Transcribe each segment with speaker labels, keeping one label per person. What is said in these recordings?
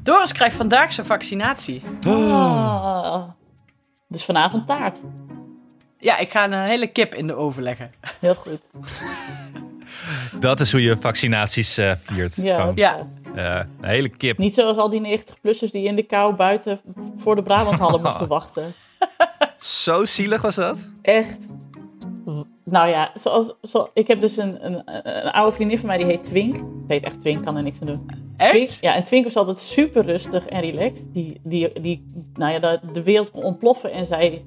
Speaker 1: Doris krijgt vandaag zijn vaccinatie.
Speaker 2: Oh. Dus vanavond taart.
Speaker 1: Ja, ik ga een eh, hele kip in de oven leggen.
Speaker 2: Heel goed.
Speaker 3: Dat is hoe je vaccinaties eh, viert.
Speaker 2: Ja.
Speaker 3: Gewoon,
Speaker 1: Ja,
Speaker 3: eh, een hele kip.
Speaker 2: Niet zoals al die 90-plussers die in de kou buiten voor de Brabanthallen moesten wachten.
Speaker 3: Zo zielig was dat.
Speaker 2: Echt. Nou ja, zoals, zo, ik heb dus een, een, een oude vriendin van mij die heet Twink. Ze heet echt Twink, kan er niks aan doen. Twink,
Speaker 1: echt?
Speaker 2: ja, en Twink was altijd super rustig en relaxed. Die, die, die nou ja, de, de wereld kon ontploffen en zij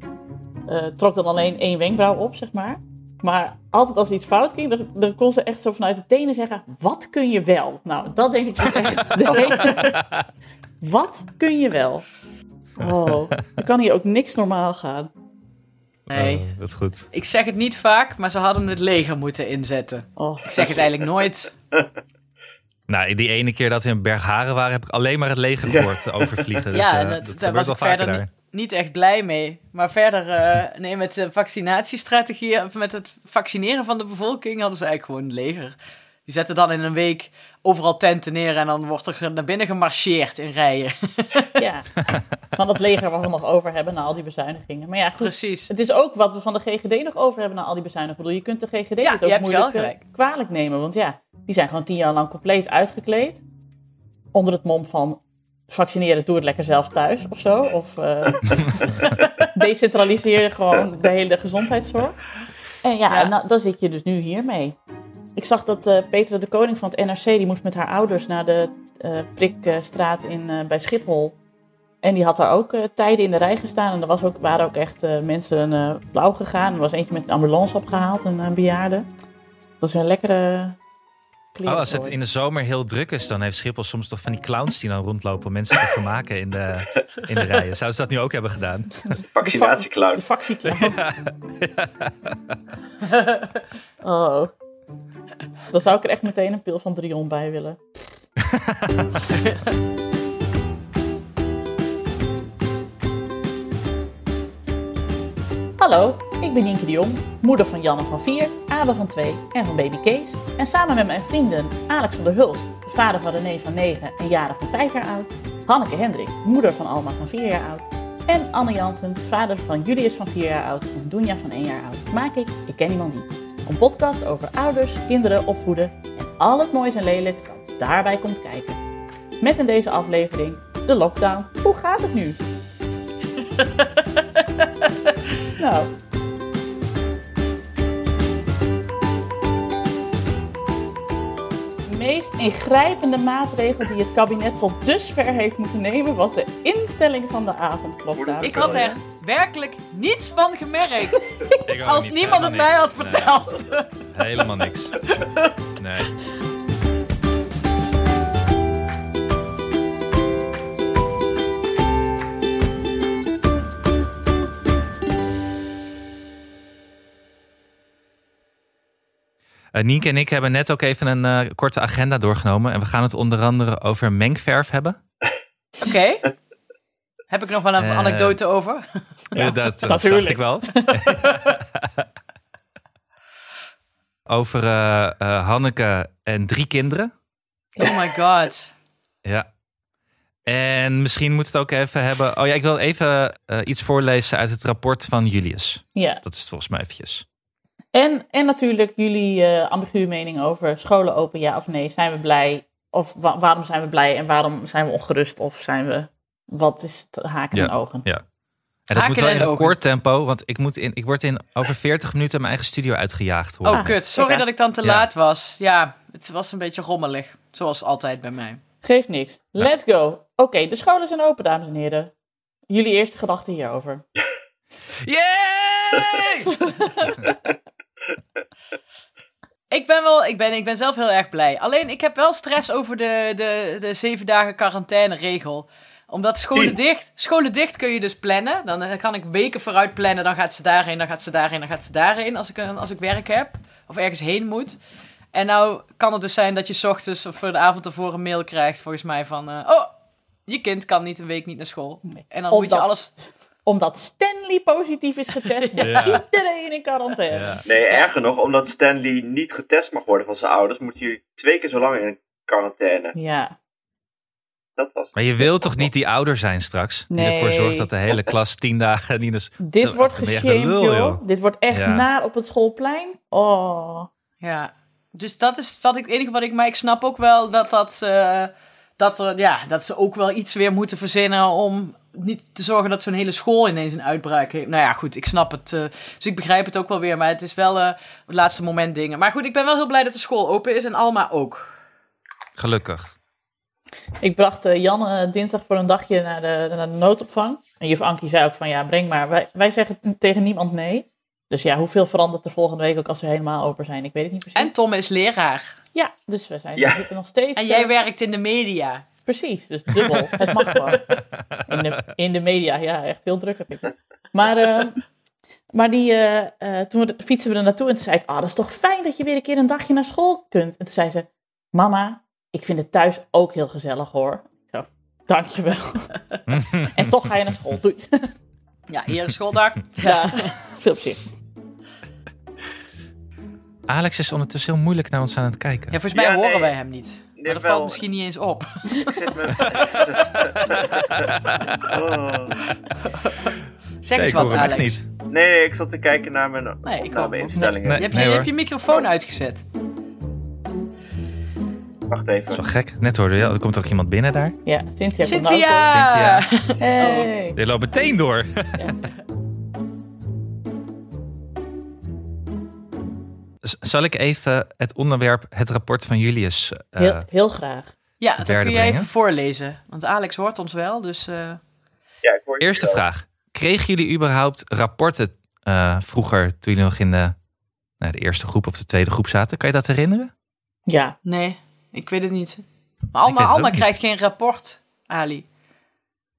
Speaker 2: eh, trok dan alleen één wenkbrauw op, zeg maar. Maar altijd als er iets fout ging, dan, dan kon ze echt zo vanuit de tenen zeggen: Wat kun je wel? Nou, dat denk ik dus echt. de hele- Wat kun je wel? Oh, er kan hier ook niks normaal gaan.
Speaker 1: Nee.
Speaker 3: Oh, dat is goed.
Speaker 1: Ik zeg het niet vaak, maar ze hadden het leger moeten inzetten.
Speaker 2: Oh.
Speaker 1: Ik zeg het eigenlijk nooit.
Speaker 3: Nou, die ene keer dat we in Bergharen waren, heb ik alleen maar het leger gehoord overvliegen. Dus,
Speaker 1: ja,
Speaker 3: ja,
Speaker 1: en
Speaker 3: dat,
Speaker 1: dat- daar
Speaker 3: gebeurt
Speaker 1: was
Speaker 3: wel
Speaker 1: ik
Speaker 3: vaker
Speaker 1: verder
Speaker 3: daar.
Speaker 1: niet, niet echt blij mee. Maar verder, eh, nee, met de vaccinatiestrategie, of met het vaccineren van de bevolking, hadden ze eigenlijk gewoon het leger. Die zetten dan in een week overal tenten neer en dan wordt er ge- naar binnen gemarcheerd in rijen.
Speaker 2: Ja, van dat leger wat we nog over hebben na al die bezuinigingen. Maar ja, goed,
Speaker 1: Precies.
Speaker 2: Het is ook wat we van de GGD nog over hebben na al die bezuinigingen. Ik bedoel, je kunt de GGD
Speaker 1: Ja,
Speaker 2: het
Speaker 1: je
Speaker 2: ook
Speaker 1: hebt
Speaker 2: moeilijk
Speaker 1: wel
Speaker 2: eh,
Speaker 1: gelijk.
Speaker 2: kwalijk nemen. Want ja, die zijn gewoon tien jaar lang compleet uitgekleed. Onder het mom van vaccineren, doe het lekker zelf thuis of zo. Of eh, decentraliseer gewoon de hele gezondheidszorg. En ja,
Speaker 1: Ja.
Speaker 2: Nou, dan zit je dus nu hiermee. Ik zag dat eh, Petra de Koning van het NRC, die moest met haar ouders naar de eh, prikstraat in, eh, bij Schiphol. En die had daar ook eh, tijden in de rij gestaan. En er was ook, waren ook echt eh, mensen eh, blauw gegaan. Er was eentje met een ambulance opgehaald, een, eh, bejaarde. Dat is een lekkere kleren.
Speaker 3: Oh, als het in de zomer heel druk is, dan heeft Schiphol soms toch van die clowns die dan rondlopen om mensen te vermaken in de, in de rijen. Zouden ze dat nu ook hebben gedaan?
Speaker 2: De
Speaker 4: Vaccinatieclown.
Speaker 2: factieclown. oh. Dan zou ik er echt meteen een pil van Drion bij willen. Hallo, ik ben Nienke de Jong, moeder van Janne van 4, Abe van 2 en van baby Kees. En samen met mijn vrienden Alex van der Hulst, de vader van René van 9 en Jaren van 5 jaar oud. Hanneke Hendrik, moeder van Alma van 4 jaar oud. En Anne Janssens, vader van Julius van 4 jaar oud en Doenja van 1 jaar oud. Maak ik Ik Ken Iemand Die. Een podcast over ouders, kinderen, opvoeden en al het moois en lelijks dat daarbij komt kijken. Met in deze aflevering de lockdown. Hoe gaat het nu? nou, De meest ingrijpende maatregel die het kabinet tot dusver heeft moeten nemen was de instelling van de avondklok.
Speaker 1: Ik had er werkelijk niets van gemerkt.
Speaker 3: Ik ook
Speaker 1: Als
Speaker 3: niet,
Speaker 1: niemand het
Speaker 3: helemaal
Speaker 1: mij had
Speaker 3: niks.
Speaker 1: verteld.
Speaker 3: Nee, helemaal niks. Nee. Eh, Nienke en ik hebben net ook even een eh, korte agenda doorgenomen. En we gaan het onder andere over mengverf hebben.
Speaker 1: Oké. Heb ik nog wel een
Speaker 3: Eh.
Speaker 1: anekdote over?
Speaker 3: Inderdaad, Eh, dat dacht ik
Speaker 2: natuurlijk.
Speaker 3: wel. Over eh, eh, Hanneke en drie kinderen.
Speaker 1: Oh my god.
Speaker 3: Ja. En misschien moet het ook even hebben. Oh ja, ik wil even eh, iets voorlezen uit het rapport van Julius.
Speaker 2: Ja.
Speaker 3: Dat is het volgens mij eventjes.
Speaker 2: En, en natuurlijk jullie eh ambiguë mening over scholen open, ja of nee. Zijn we blij? Of wa- waarom zijn we blij? En waarom zijn we ongerust? Of zijn we... Wat is het haken en ogen?
Speaker 3: Ja. En dat
Speaker 1: Haken
Speaker 3: moet wel in
Speaker 1: en ogen.
Speaker 3: recordtempo, want ik, moet in, ik word in over 40 minuten mijn eigen studio uitgejaagd. hoor
Speaker 1: Oh,
Speaker 3: ik net.
Speaker 1: kut. Sorry
Speaker 2: Oké.
Speaker 1: dat ik dan te
Speaker 3: Ah, Ja.
Speaker 1: laat was. Ja, het was een beetje rommelig. Zoals altijd bij mij.
Speaker 2: Geeft niks. Let's go. Oké, de scholen zijn open, dames en heren. Jullie eerste gedachten hierover.
Speaker 3: Yay!
Speaker 1: Ik ben, wel, ik, ben, ik ben zelf heel erg blij. Alleen ik heb wel stress over de, de, de zeven dagen quarantaine regel. Omdat scholen
Speaker 4: Tien.
Speaker 1: dicht, scholen dicht kun je dus plannen. Dan eh, kan ik weken vooruit plannen. Dan gaat ze daarheen, dan gaat ze daarheen, dan gaat ze daarheen. Als ik, een- als ik werk heb of ergens heen moet. En nou kan het dus zijn dat je 's ochtends of voor de avond ervoor een mail krijgt. Volgens mij van, eh, oh, je kind kan niet een week niet naar school. En dan moet je
Speaker 2: Omdat-
Speaker 1: alles...
Speaker 2: Omdat Stanley positief is getest, moet
Speaker 3: Ja.
Speaker 2: iedereen in quarantaine.
Speaker 3: Ja.
Speaker 4: Nee, erger nog, omdat Stanley niet getest mag worden van zijn ouders, moet hij twee keer zo lang in quarantaine.
Speaker 2: Ja.
Speaker 4: Dat was
Speaker 3: Maar je wil toch niet die ouder zijn straks? Die ervoor
Speaker 2: Nee.
Speaker 3: zorgt dat de hele klas tien dagen niet eens...
Speaker 2: Dit
Speaker 3: Dat-
Speaker 2: wordt
Speaker 3: dat ben je echt
Speaker 2: geshamed,
Speaker 3: een lul,
Speaker 2: joh.
Speaker 3: joh.
Speaker 2: Dit wordt echt
Speaker 3: Ja.
Speaker 2: naar op het schoolplein. Oh.
Speaker 1: Ja. Dus dat is wat ik, het enige wat ik... Maar ik snap ook wel dat dat... eh, dat, er, ja, dat ze ook wel iets weer moeten verzinnen om niet te zorgen dat zo'n hele school ineens een uitbraak heeft. Nou ja, goed, ik snap het. eh, dus ik begrijp het ook wel weer. Maar het is wel eh, het laatste moment dingen. Maar goed, ik ben wel heel blij dat de school open is. En Alma ook.
Speaker 3: Gelukkig.
Speaker 2: Ik bracht eh, Jan eh, dinsdag voor een dagje naar de, naar de noodopvang. En juf Ankie zei ook van ja, breng maar. Wij, wij zeggen n- tegen niemand nee. Dus ja, hoeveel verandert er volgende week ook als ze helemaal open zijn? Ik weet het niet precies.
Speaker 1: En Tom is leraar.
Speaker 2: Ja, dus we zijn
Speaker 4: Ja.
Speaker 2: we zitten nog steeds...
Speaker 1: En jij
Speaker 2: eh,
Speaker 1: werkt in de media.
Speaker 2: Precies, dus dubbel. het mag gewoon. In de, in de media, ja, echt heel druk heb ik. het. Maar, eh, maar die, eh, eh, toen we, fietsen we er naartoe en toen zei ik, ah, dat is toch fijn dat je weer een keer een dagje naar school kunt. En toen zei ze, mama, ik vind het thuis ook heel gezellig hoor. Zo, dankjewel. en toch ga je naar school, doei.
Speaker 1: Ja, hier is schooldag.
Speaker 2: ja, veel plezier.
Speaker 3: Alex is ondertussen heel moeilijk naar ons aan het kijken.
Speaker 1: Ja, volgens mij
Speaker 4: Ja,
Speaker 1: horen
Speaker 4: nee.
Speaker 1: wij hem niet. Maar dat
Speaker 4: wel.
Speaker 1: valt misschien niet eens op.
Speaker 4: Ik zit met... oh.
Speaker 1: Zeg
Speaker 3: Nee,
Speaker 1: eens
Speaker 3: ik
Speaker 1: wat,
Speaker 3: hoor hem echt
Speaker 1: Alex.
Speaker 3: niet.
Speaker 4: Nee, nee, ik zat te kijken naar mijn
Speaker 1: Nee, ik ook.
Speaker 4: opnameinstellingen.
Speaker 1: Je hebt,
Speaker 3: Nee,
Speaker 1: je, je
Speaker 3: hoor.
Speaker 1: hebt je microfoon uitgezet.
Speaker 4: Wacht
Speaker 3: Dat
Speaker 4: even.
Speaker 3: is wel gek. Net hoorde je, er komt ook iemand binnen daar.
Speaker 2: Ja, Cynthia, komt nou ook
Speaker 1: Cynthia!
Speaker 3: Cynthia. Oh.
Speaker 2: wel. Hey.
Speaker 3: Die loopt meteen door. Z- Zal ik even het onderwerp, het rapport van Julius... eh,
Speaker 2: Heel, heel graag.
Speaker 1: Ja,
Speaker 3: de
Speaker 1: dat
Speaker 3: derde
Speaker 1: kun je
Speaker 3: brengen.
Speaker 1: even voorlezen. Want Alex hoort ons wel, dus... eh,
Speaker 4: Ja, ik hoor je
Speaker 3: Eerste
Speaker 4: wel.
Speaker 3: vraag. Kregen jullie überhaupt rapporten eh, vroeger toen jullie nog in de, nou, de eerste groep of de tweede groep zaten? Kan je dat herinneren?
Speaker 2: Ja,
Speaker 1: nee, ik weet het niet. Maar
Speaker 3: weet
Speaker 1: Alma,
Speaker 3: het ook
Speaker 1: Alma
Speaker 3: niet.
Speaker 1: krijgt geen rapport, Ali.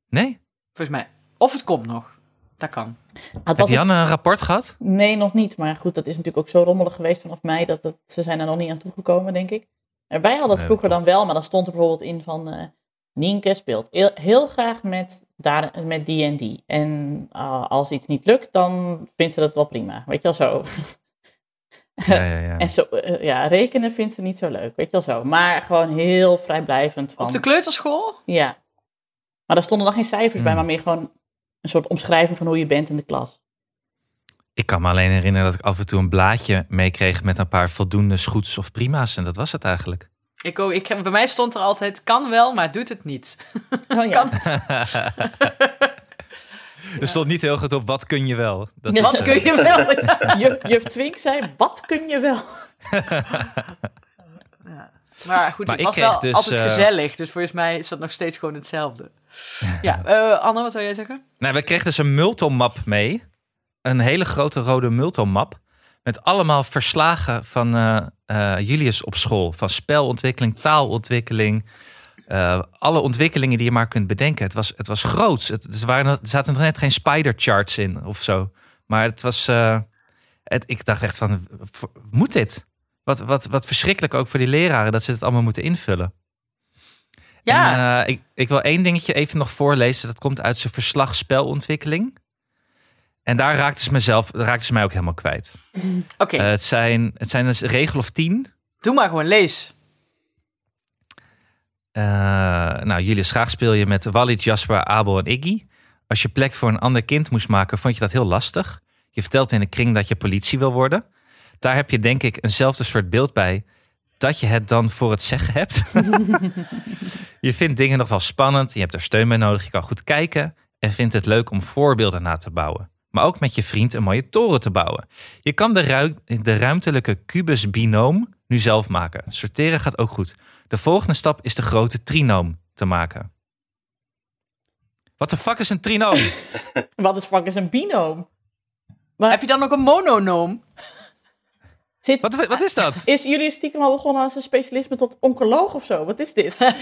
Speaker 3: Nee?
Speaker 1: Volgens mij. Of het komt nog. Dat kan.
Speaker 2: het
Speaker 3: Heb
Speaker 2: was een
Speaker 3: Janne een rapport gehad?
Speaker 2: Nee, nog niet. Maar goed, dat is natuurlijk ook zo rommelig geweest vanaf mei dat het, ze zijn er nog niet aan toegekomen, denk ik. En wij hadden dat
Speaker 3: Nee, dat
Speaker 2: vroeger dan
Speaker 3: klopt.
Speaker 2: wel, maar dan stond er bijvoorbeeld in van eh Nienke speelt heel, heel graag met, daar, met die en die. En ah, als iets niet lukt, dan vindt ze dat wel prima. Weet je wel zo.
Speaker 3: Ja, ja, ja.
Speaker 2: En zo, eh, ja, rekenen vindt ze niet zo leuk. Weet je wel zo. Maar gewoon heel vrijblijvend van.
Speaker 1: Op de kleuterschool?
Speaker 2: Ja. Maar daar stonden dan geen cijfers bij,
Speaker 3: Hmm.
Speaker 2: maar meer gewoon een soort omschrijving van hoe je bent in de klas.
Speaker 3: Ik kan me alleen herinneren dat ik af en toe een blaadje meekreeg met een paar voldoende goeds of prima's. En dat was het eigenlijk.
Speaker 1: Ik, ook- ik, bij mij stond er altijd, kan wel, maar doet het niet.
Speaker 2: Oh ja.
Speaker 1: Kan-
Speaker 3: Er stond niet heel goed op wat kun je wel. Dat
Speaker 2: Ja.
Speaker 3: is,
Speaker 1: Wat
Speaker 3: eh,
Speaker 1: kun je wel?
Speaker 2: Juf, juf Twink zei, wat kun je wel?
Speaker 1: Maar goed,
Speaker 3: Maar
Speaker 1: het
Speaker 3: ik
Speaker 1: was wel
Speaker 3: kreeg dus,
Speaker 1: altijd
Speaker 3: eh,
Speaker 1: gezellig. Dus volgens mij is dat nog steeds gewoon hetzelfde. Ja, eh Anne, wat zou jij zeggen?
Speaker 3: Nou, we kregen dus een multomap mee. Een hele grote rode multomap. Met allemaal verslagen van eh, eh, Julius op school. Van spelontwikkeling, taalontwikkeling. eh, alle ontwikkelingen die je maar kunt bedenken. Het was, het was groots. Het, er, waren, er zaten nog net geen spider charts in of zo. Maar het was... eh, het, ik dacht echt van, v- moet dit? Wat, wat, wat verschrikkelijk ook voor die leraren dat ze dit allemaal moeten invullen.
Speaker 1: Ja,
Speaker 3: En, eh, ik, ik wil één dingetje even nog voorlezen. Dat komt uit zijn verslag spelontwikkeling. En daar raakte ze, mezelf, daar raakte ze mij ook helemaal kwijt.
Speaker 1: oké.
Speaker 3: Eh, het, zijn, het zijn dus een regel of tien.
Speaker 1: doe maar gewoon, lees.
Speaker 3: Eh, nou, Julius, graag speel je met Walid, Jasper, Abel en Iggy. Als je plek voor een ander kind moest maken, vond je dat heel lastig. Je vertelt in de kring dat je politie wil worden. Daar heb je denk ik eenzelfde soort beeld bij dat je het dan voor het zeggen hebt. je vindt dingen nog wel spannend, je hebt er steun bij nodig, je kan goed kijken en vindt het leuk om voorbeelden na te bouwen. Maar ook met je vriend een mooie toren te bouwen. Je kan de, ru- de ruimtelijke kubus binoom nu zelf maken. Sorteren gaat ook goed. De volgende stap is de grote trinoom te maken. Wat de fuck is een trinoom?
Speaker 2: Wat is fuck is een binoom?
Speaker 1: Heb je dan ook een mononoom?
Speaker 2: Zit,
Speaker 3: Wat, wat is dat?
Speaker 2: Is jullie stiekem al begonnen als een specialisme tot oncoloog of zo? Wat is dit?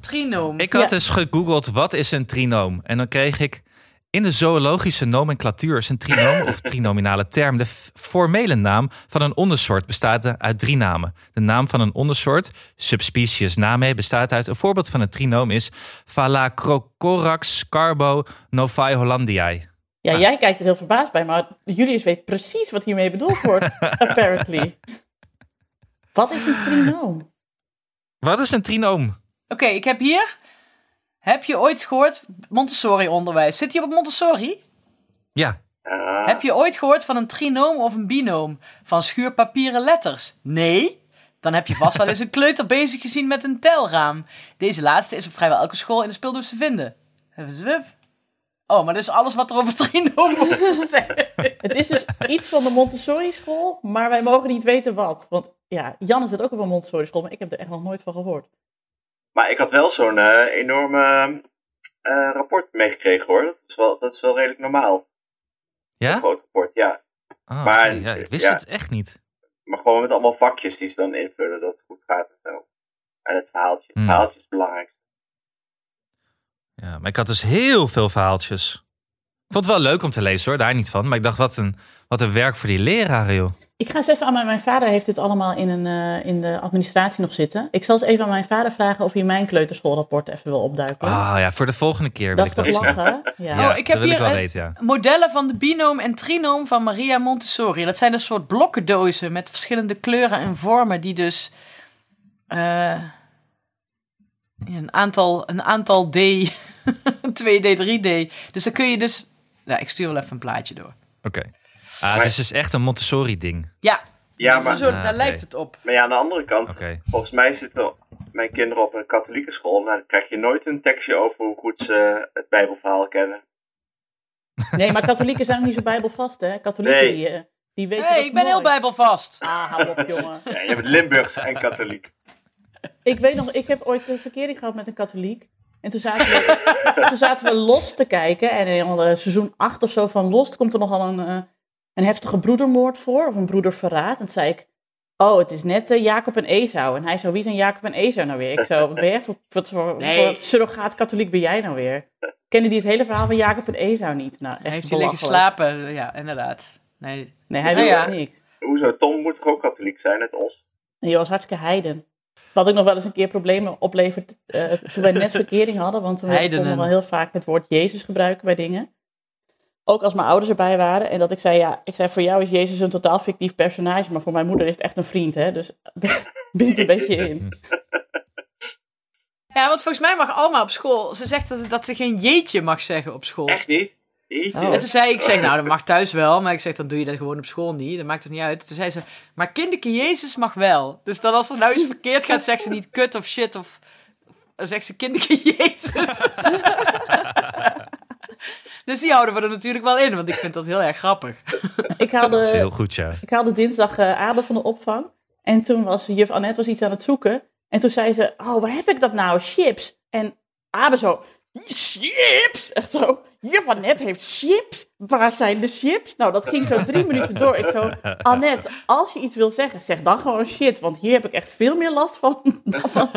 Speaker 1: Trinoom.
Speaker 3: Ik had
Speaker 2: Ja.
Speaker 3: dus gegoogeld wat is een trinoom. En dan kreeg ik in de zoologische nomenclatuur is een trinoom of trinominale term de f- formele naam van een ondersoort bestaat uit drie namen. De naam van een ondersoort, subspecies name, bestaat uit een voorbeeld van een trinoom is Phalacrocorax carbo novae hollandiae.
Speaker 2: Ja, jij kijkt er heel verbaasd bij, maar Julius weet precies wat hiermee bedoeld wordt, apparently. Wat is een trinoom?
Speaker 3: Wat is een trinoom?
Speaker 1: Oké, ik heb hier Heb je ooit gehoord Montessori-onderwijs? Zit hij op het Montessori?
Speaker 3: Ja,
Speaker 4: Ah,
Speaker 1: Heb je ooit gehoord van een trinoom of een binoom? Van schuurpapieren letters? Nee? Dan heb je vast wel eens een kleuter bezig gezien met een telraam. Deze laatste is op vrijwel elke school in de speeldoos te vinden. Hebben ze wup. Oh, maar dat is alles wat er over trinoom wordt gezegd.
Speaker 2: Het is dus iets van de Montessori-school, maar wij mogen niet weten wat. Want ja, Janne zit ook op een Montessori-school, maar ik heb er echt nog nooit van gehoord.
Speaker 4: Maar ik had wel zo'n eh, enorme eh, rapport meegekregen hoor. Dat is wel, dat is wel redelijk normaal. Een
Speaker 3: ja?
Speaker 4: groot rapport, ja.
Speaker 3: Oh,
Speaker 4: Maar-
Speaker 3: oké, ja ik wist
Speaker 4: ja.
Speaker 3: het echt niet.
Speaker 4: Maar gewoon met allemaal vakjes die ze dan invullen, dat het goed gaat en zo. En het verhaaltje. Het
Speaker 3: Hmm.
Speaker 4: verhaaltje is het belangrijkste.
Speaker 3: Ja, maar ik had dus heel veel verhaaltjes. Ik vond het wel leuk om te lezen hoor, daar niet van. Maar ik dacht, wat een, wat een werk voor die leraren joh.
Speaker 2: Ik ga eens even aan mijn, mijn vader, heeft dit allemaal in, een, eh, in de administratie nog zitten. Ik zal eens even aan mijn vader vragen of hij mijn kleuterschoolrapport even wil opduiken.
Speaker 3: Ah ja, voor de volgende keer wil
Speaker 2: dat is
Speaker 3: ik dat
Speaker 2: toch
Speaker 3: zien.
Speaker 2: lachen?
Speaker 3: Ja,
Speaker 2: Ja.
Speaker 1: Oh, ik heb
Speaker 3: dat wil
Speaker 1: hier
Speaker 3: ik wel
Speaker 1: een-
Speaker 3: weten, ja.
Speaker 1: Modellen van de binoom en trinoom van Maria Montessori. Dat zijn een soort blokkendozen met verschillende kleuren en vormen die dus eh, een aantal, een aantal D, 2D, 3D. Dus dan kun je dus... Nou, ik stuur wel even een plaatje door.
Speaker 3: Oké. Ah, het is dus echt een Montessori ding.
Speaker 1: Ja,
Speaker 4: Ja,
Speaker 1: dat is
Speaker 4: maar,
Speaker 1: een soort-
Speaker 3: Ah,
Speaker 1: daar
Speaker 3: oké.
Speaker 1: lijkt het op.
Speaker 4: maar ja, aan de andere kant,
Speaker 3: Oké.
Speaker 4: volgens mij zitten mijn kinderen op een katholieke school. Nou, dan krijg je nooit een tekstje over hoe goed ze het Bijbelverhaal kennen.
Speaker 2: Nee, maar katholieken zijn ook niet zo bijbelvast, hè? Katholieken,
Speaker 4: Nee.
Speaker 2: die, eh, die weten
Speaker 1: hey,
Speaker 2: dat
Speaker 1: ik ben heel
Speaker 2: nooit.
Speaker 1: bijbelvast.
Speaker 2: Ah, hou op, jongen.
Speaker 4: Ja, je bent Limburgs en katholiek.
Speaker 2: Ik weet nog, ik heb ooit een verkering gehad met een katholiek. En toen zaten we, toen zaten we Lost te kijken. En in eh, seizoen 8 of zo van Lost komt er nogal een, eh, een heftige broedermoord voor. Of een broederverraad. En toen zei ik, oh, het is net eh, Jacob en Esau. En hij zo, wie zijn Jacob en Esau nou weer? Ik zo, wat ben jij voor, wat voor,
Speaker 1: Nee.
Speaker 2: voor surrogaat katholiek ben jij nou weer? Kende die het hele verhaal van Jacob en Esau niet? Nou, echt
Speaker 1: Heeft hij liggen
Speaker 2: belachelijk.
Speaker 1: slapen? Ja, inderdaad. Nee.
Speaker 2: Nee, hij
Speaker 1: Ja,
Speaker 2: wist
Speaker 1: ja.
Speaker 2: echt niks.
Speaker 4: Hoezo? Tom moet toch ook katholiek zijn, net ons?
Speaker 2: En die was hartstikke heiden. Wat ook nog wel eens een keer problemen oplevert eh, toen wij net verkering hadden. Want we
Speaker 1: Heidenen.
Speaker 2: konden nog wel heel vaak het woord Jezus gebruiken bij dingen. Ook als mijn ouders erbij waren. En dat ik zei, ja, ik zei voor jou is Jezus een totaal fictief personage. Maar voor mijn moeder is het echt een vriend, hè. Dus bindt een beetje in.
Speaker 1: Ja, want volgens mij mag Alma op school... Ze zegt dat ze, dat ze geen jeetje mag zeggen op school.
Speaker 4: Echt niet? Jeetje.
Speaker 2: Oh.
Speaker 1: En toen zei ik, ik, zeg, nou dat mag thuis wel, maar ik zeg, dan doe je dat gewoon op school niet, dat maakt toch niet uit. Toen zei ze, maar kinderke Jezus mag wel. Dus dan als er nou iets verkeerd gaat, zegt ze niet kut of shit of... Dan zegt ze kinderke Jezus. dus die houden we er natuurlijk wel in, want ik vind dat heel erg grappig.
Speaker 2: Ik
Speaker 3: Dat is
Speaker 1: Eh,
Speaker 2: haalde,
Speaker 3: heel goed, ja.
Speaker 2: ik haalde dinsdag eh Abel van de opvang. En toen was juf Annette was iets aan het zoeken. En toen zei ze, oh, waar heb ik dat nou? Chips. En Abel zo, chips? Echt zo, juf Annette heeft chips? Waar zijn de chips? Nou, dat ging zo drie minuten door. Ik zo, Annette, als je iets wil zeggen, zeg dan gewoon shit. Want hier heb ik echt veel meer last van dan van,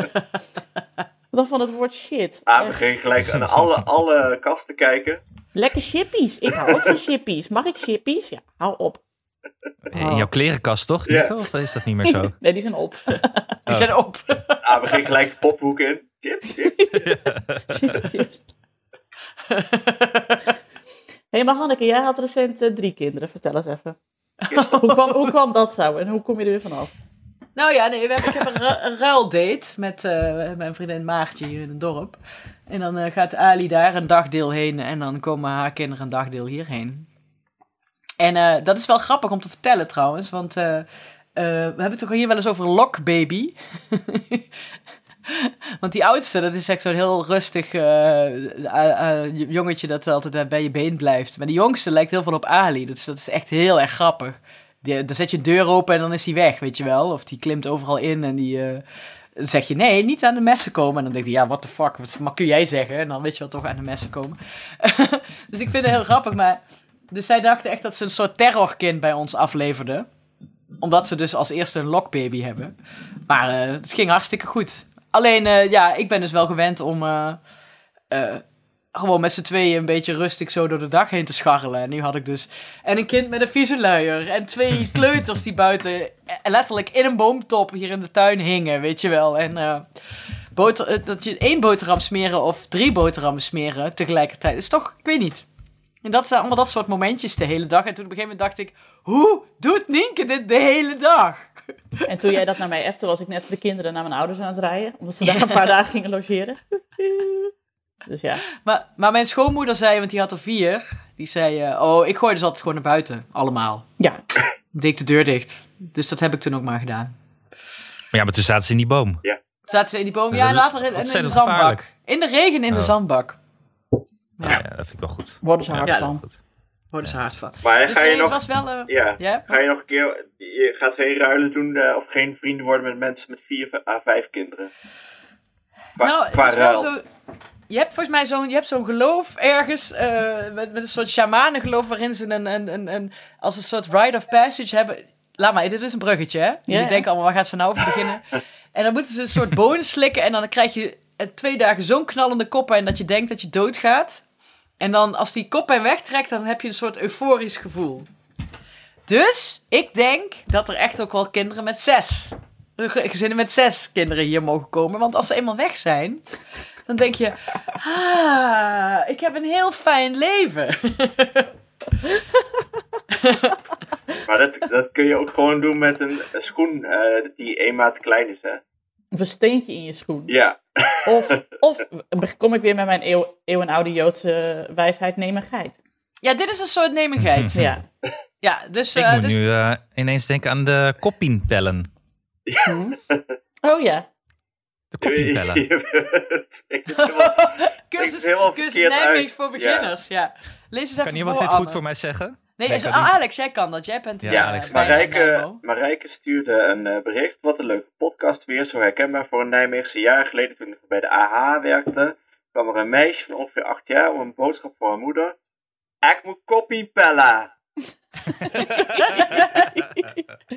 Speaker 2: dan van het woord shit.
Speaker 4: Ah, we
Speaker 2: Echt.
Speaker 4: gingen gelijk aan alle, alle kasten kijken.
Speaker 2: Lekker chippies. Ik hou ook van chippies. Mag ik chippies? Ja, hou op.
Speaker 1: oh.
Speaker 3: In jouw klerenkast toch,
Speaker 4: Ja.
Speaker 3: Nico? Of is dat niet meer zo?
Speaker 2: Nee, die zijn op.
Speaker 1: Die zijn op.
Speaker 4: Ah, we gingen gelijk de pophoek in. Chip, chip.
Speaker 2: Hé, maar Hanneke, jij had recent eh, drie kinderen. Vertel eens even.
Speaker 4: Gisteren.
Speaker 2: Hoe kwam, hoe kwam dat zo en hoe kom je er weer vanaf?
Speaker 1: Nou ja, nee, we hebben, ik heb een, ru- een ruildate met eh, mijn vriendin Maartje hier in het dorp. En dan eh, gaat Ali daar een dagdeel heen en dan komen haar kinderen een dagdeel hierheen. En eh, dat is wel grappig om te vertellen trouwens, want eh, eh, we hebben het toch hier wel eens over lokbaby. want die oudste, dat is echt zo'n heel rustig eh, eh, eh, jongetje dat altijd eh, bij je been blijft. Maar die jongste lijkt heel veel op Ali, dus dat is echt heel erg grappig. Die, dan zet je een deur open en dan is hij weg, weet je wel. Of die klimt overal in en die... eh, dan zeg je nee, niet aan de messen komen. En dan denkt hij, ja, what the fuck, wat maar kun jij zeggen? En dan weet je wel, toch aan de messen komen. dus ik vind het heel grappig, maar... Dus zij dachten echt dat ze een soort terrorkind bij ons afleverden. Omdat ze dus als eerste een lokbaby hebben. Maar eh, het ging hartstikke goed. Alleen, eh, ja, ik ben dus wel gewend om... eh, eh, gewoon met z'n tweeën een beetje rustig zo door de dag heen te scharrelen. En nu had ik dus... En een kind met een vieze luier. En twee kleuters die buiten eh, letterlijk in een boomtop hier in de tuin hingen, weet je wel. En eh, boter, eh, dat je één boterham smeren of drie boterhammen smeren tegelijkertijd. is toch, ik weet niet. En dat zijn allemaal dat soort momentjes de hele dag. En toen op een gegeven moment dacht ik, hoe doet Nienke dit de hele dag?
Speaker 2: En toen jij dat naar mij appte, was ik net de kinderen naar mijn ouders aan het rijden. Omdat ze daar een paar dagen gingen logeren. Dus ja.
Speaker 1: Maar, maar mijn schoonmoeder zei, want die had er vier. Die zei, eh, oh, ik gooi dus altijd gewoon naar buiten. Allemaal.
Speaker 2: Ja,
Speaker 1: Ik deed de deur dicht. Dus dat heb ik toen ook maar gedaan.
Speaker 3: Maar ja, maar toen zaten ze in die boom.
Speaker 1: Toen zaten ze in die boom.
Speaker 3: Dus
Speaker 1: Ja,
Speaker 3: dat
Speaker 1: en
Speaker 3: is
Speaker 1: later in, in de
Speaker 3: ontzettend
Speaker 1: zandbak.
Speaker 3: gevaarlijk.
Speaker 1: In de regen in de
Speaker 3: Oh.
Speaker 1: zandbak.
Speaker 3: Ja.
Speaker 1: Ja.
Speaker 3: Ah, ja, dat vind ik wel goed.
Speaker 2: worden ze
Speaker 3: Ja,
Speaker 2: hard
Speaker 1: Ja.
Speaker 2: van.
Speaker 3: goed.
Speaker 1: Worden ze hard van.
Speaker 4: Maar
Speaker 1: Dus
Speaker 4: ga je
Speaker 1: nee, het
Speaker 4: nog...
Speaker 1: was wel... eh,
Speaker 4: Ja.
Speaker 1: ja?
Speaker 4: Ga je nog een keer... Je gaat geen ruilen doen eh, of geen vrienden worden met mensen met vier à vijf kinderen? Qua,
Speaker 1: nou, het
Speaker 4: qua
Speaker 1: is wel
Speaker 4: ruil.
Speaker 1: zo. Je hebt volgens mij zo'n je hebt zo'n geloof ergens, eh, met, met een soort shamanengeloof waarin ze een, een, een, een, als een soort rite of passage hebben. Laat maar, dit is een bruggetje, hè? Jullie
Speaker 2: ja.
Speaker 1: denken allemaal, waar gaat ze nou over beginnen? en dan moeten ze een soort bonen slikken en dan krijg je eh, twee dagen zo'n knallende koppijn dat je denkt dat je doodgaat. En dan als die koppijn wegtrekt, dan heb je een soort euforisch gevoel. Dus ik denk dat er echt ook wel kinderen met zes, eh, ge- gezinnen met zes kinderen hier mogen komen. Want als ze eenmaal weg zijn, dan denk je, ah, ik heb een heel fijn leven.
Speaker 4: Maar dat, dat kun je ook gewoon doen met een, een schoen eh, die één maat klein is, hè?
Speaker 2: Of een steentje in je schoen.
Speaker 4: Ja.
Speaker 2: Of, of kom ik weer met mijn eeuw, eeuwenoude Joodse wijsheid, neem een geit.
Speaker 1: Ja, dit is een soort nemigheid.
Speaker 2: Ja.
Speaker 1: Ja, dus,
Speaker 3: Ik
Speaker 1: eh,
Speaker 3: moet
Speaker 1: dus
Speaker 3: nu eh, ineens denken aan de koppienpellen.
Speaker 2: Oh ja.
Speaker 3: De koppienpellen.
Speaker 4: Het is helemaal-
Speaker 1: cursus,
Speaker 4: het helemaal
Speaker 1: cursus
Speaker 4: verkeerd
Speaker 1: Nijmegen
Speaker 4: uit.
Speaker 1: voor
Speaker 4: Ja.
Speaker 1: beginners. Ja. Lees eens even
Speaker 3: Kan iemand
Speaker 1: voor,
Speaker 3: dit goed
Speaker 1: Anne.
Speaker 3: voor mij zeggen?
Speaker 1: Nee,
Speaker 3: Nee,
Speaker 1: is-
Speaker 3: kan
Speaker 1: ah,
Speaker 3: niet.
Speaker 1: Alex, jij kan dat. Jij bent
Speaker 3: Ja,
Speaker 1: eh,
Speaker 3: Alex.
Speaker 1: bij
Speaker 4: Marijke,
Speaker 1: Nijmegen.
Speaker 4: Marijke stuurde een eh, bericht. Wat een leuke podcast weer. Zo herkenbaar voor een Nijmeegse. Jaren geleden toen ik bij de AH werkte, kwam er een meisje van ongeveer acht jaar om een boodschap voor haar moeder. Ik moet koppie pellen.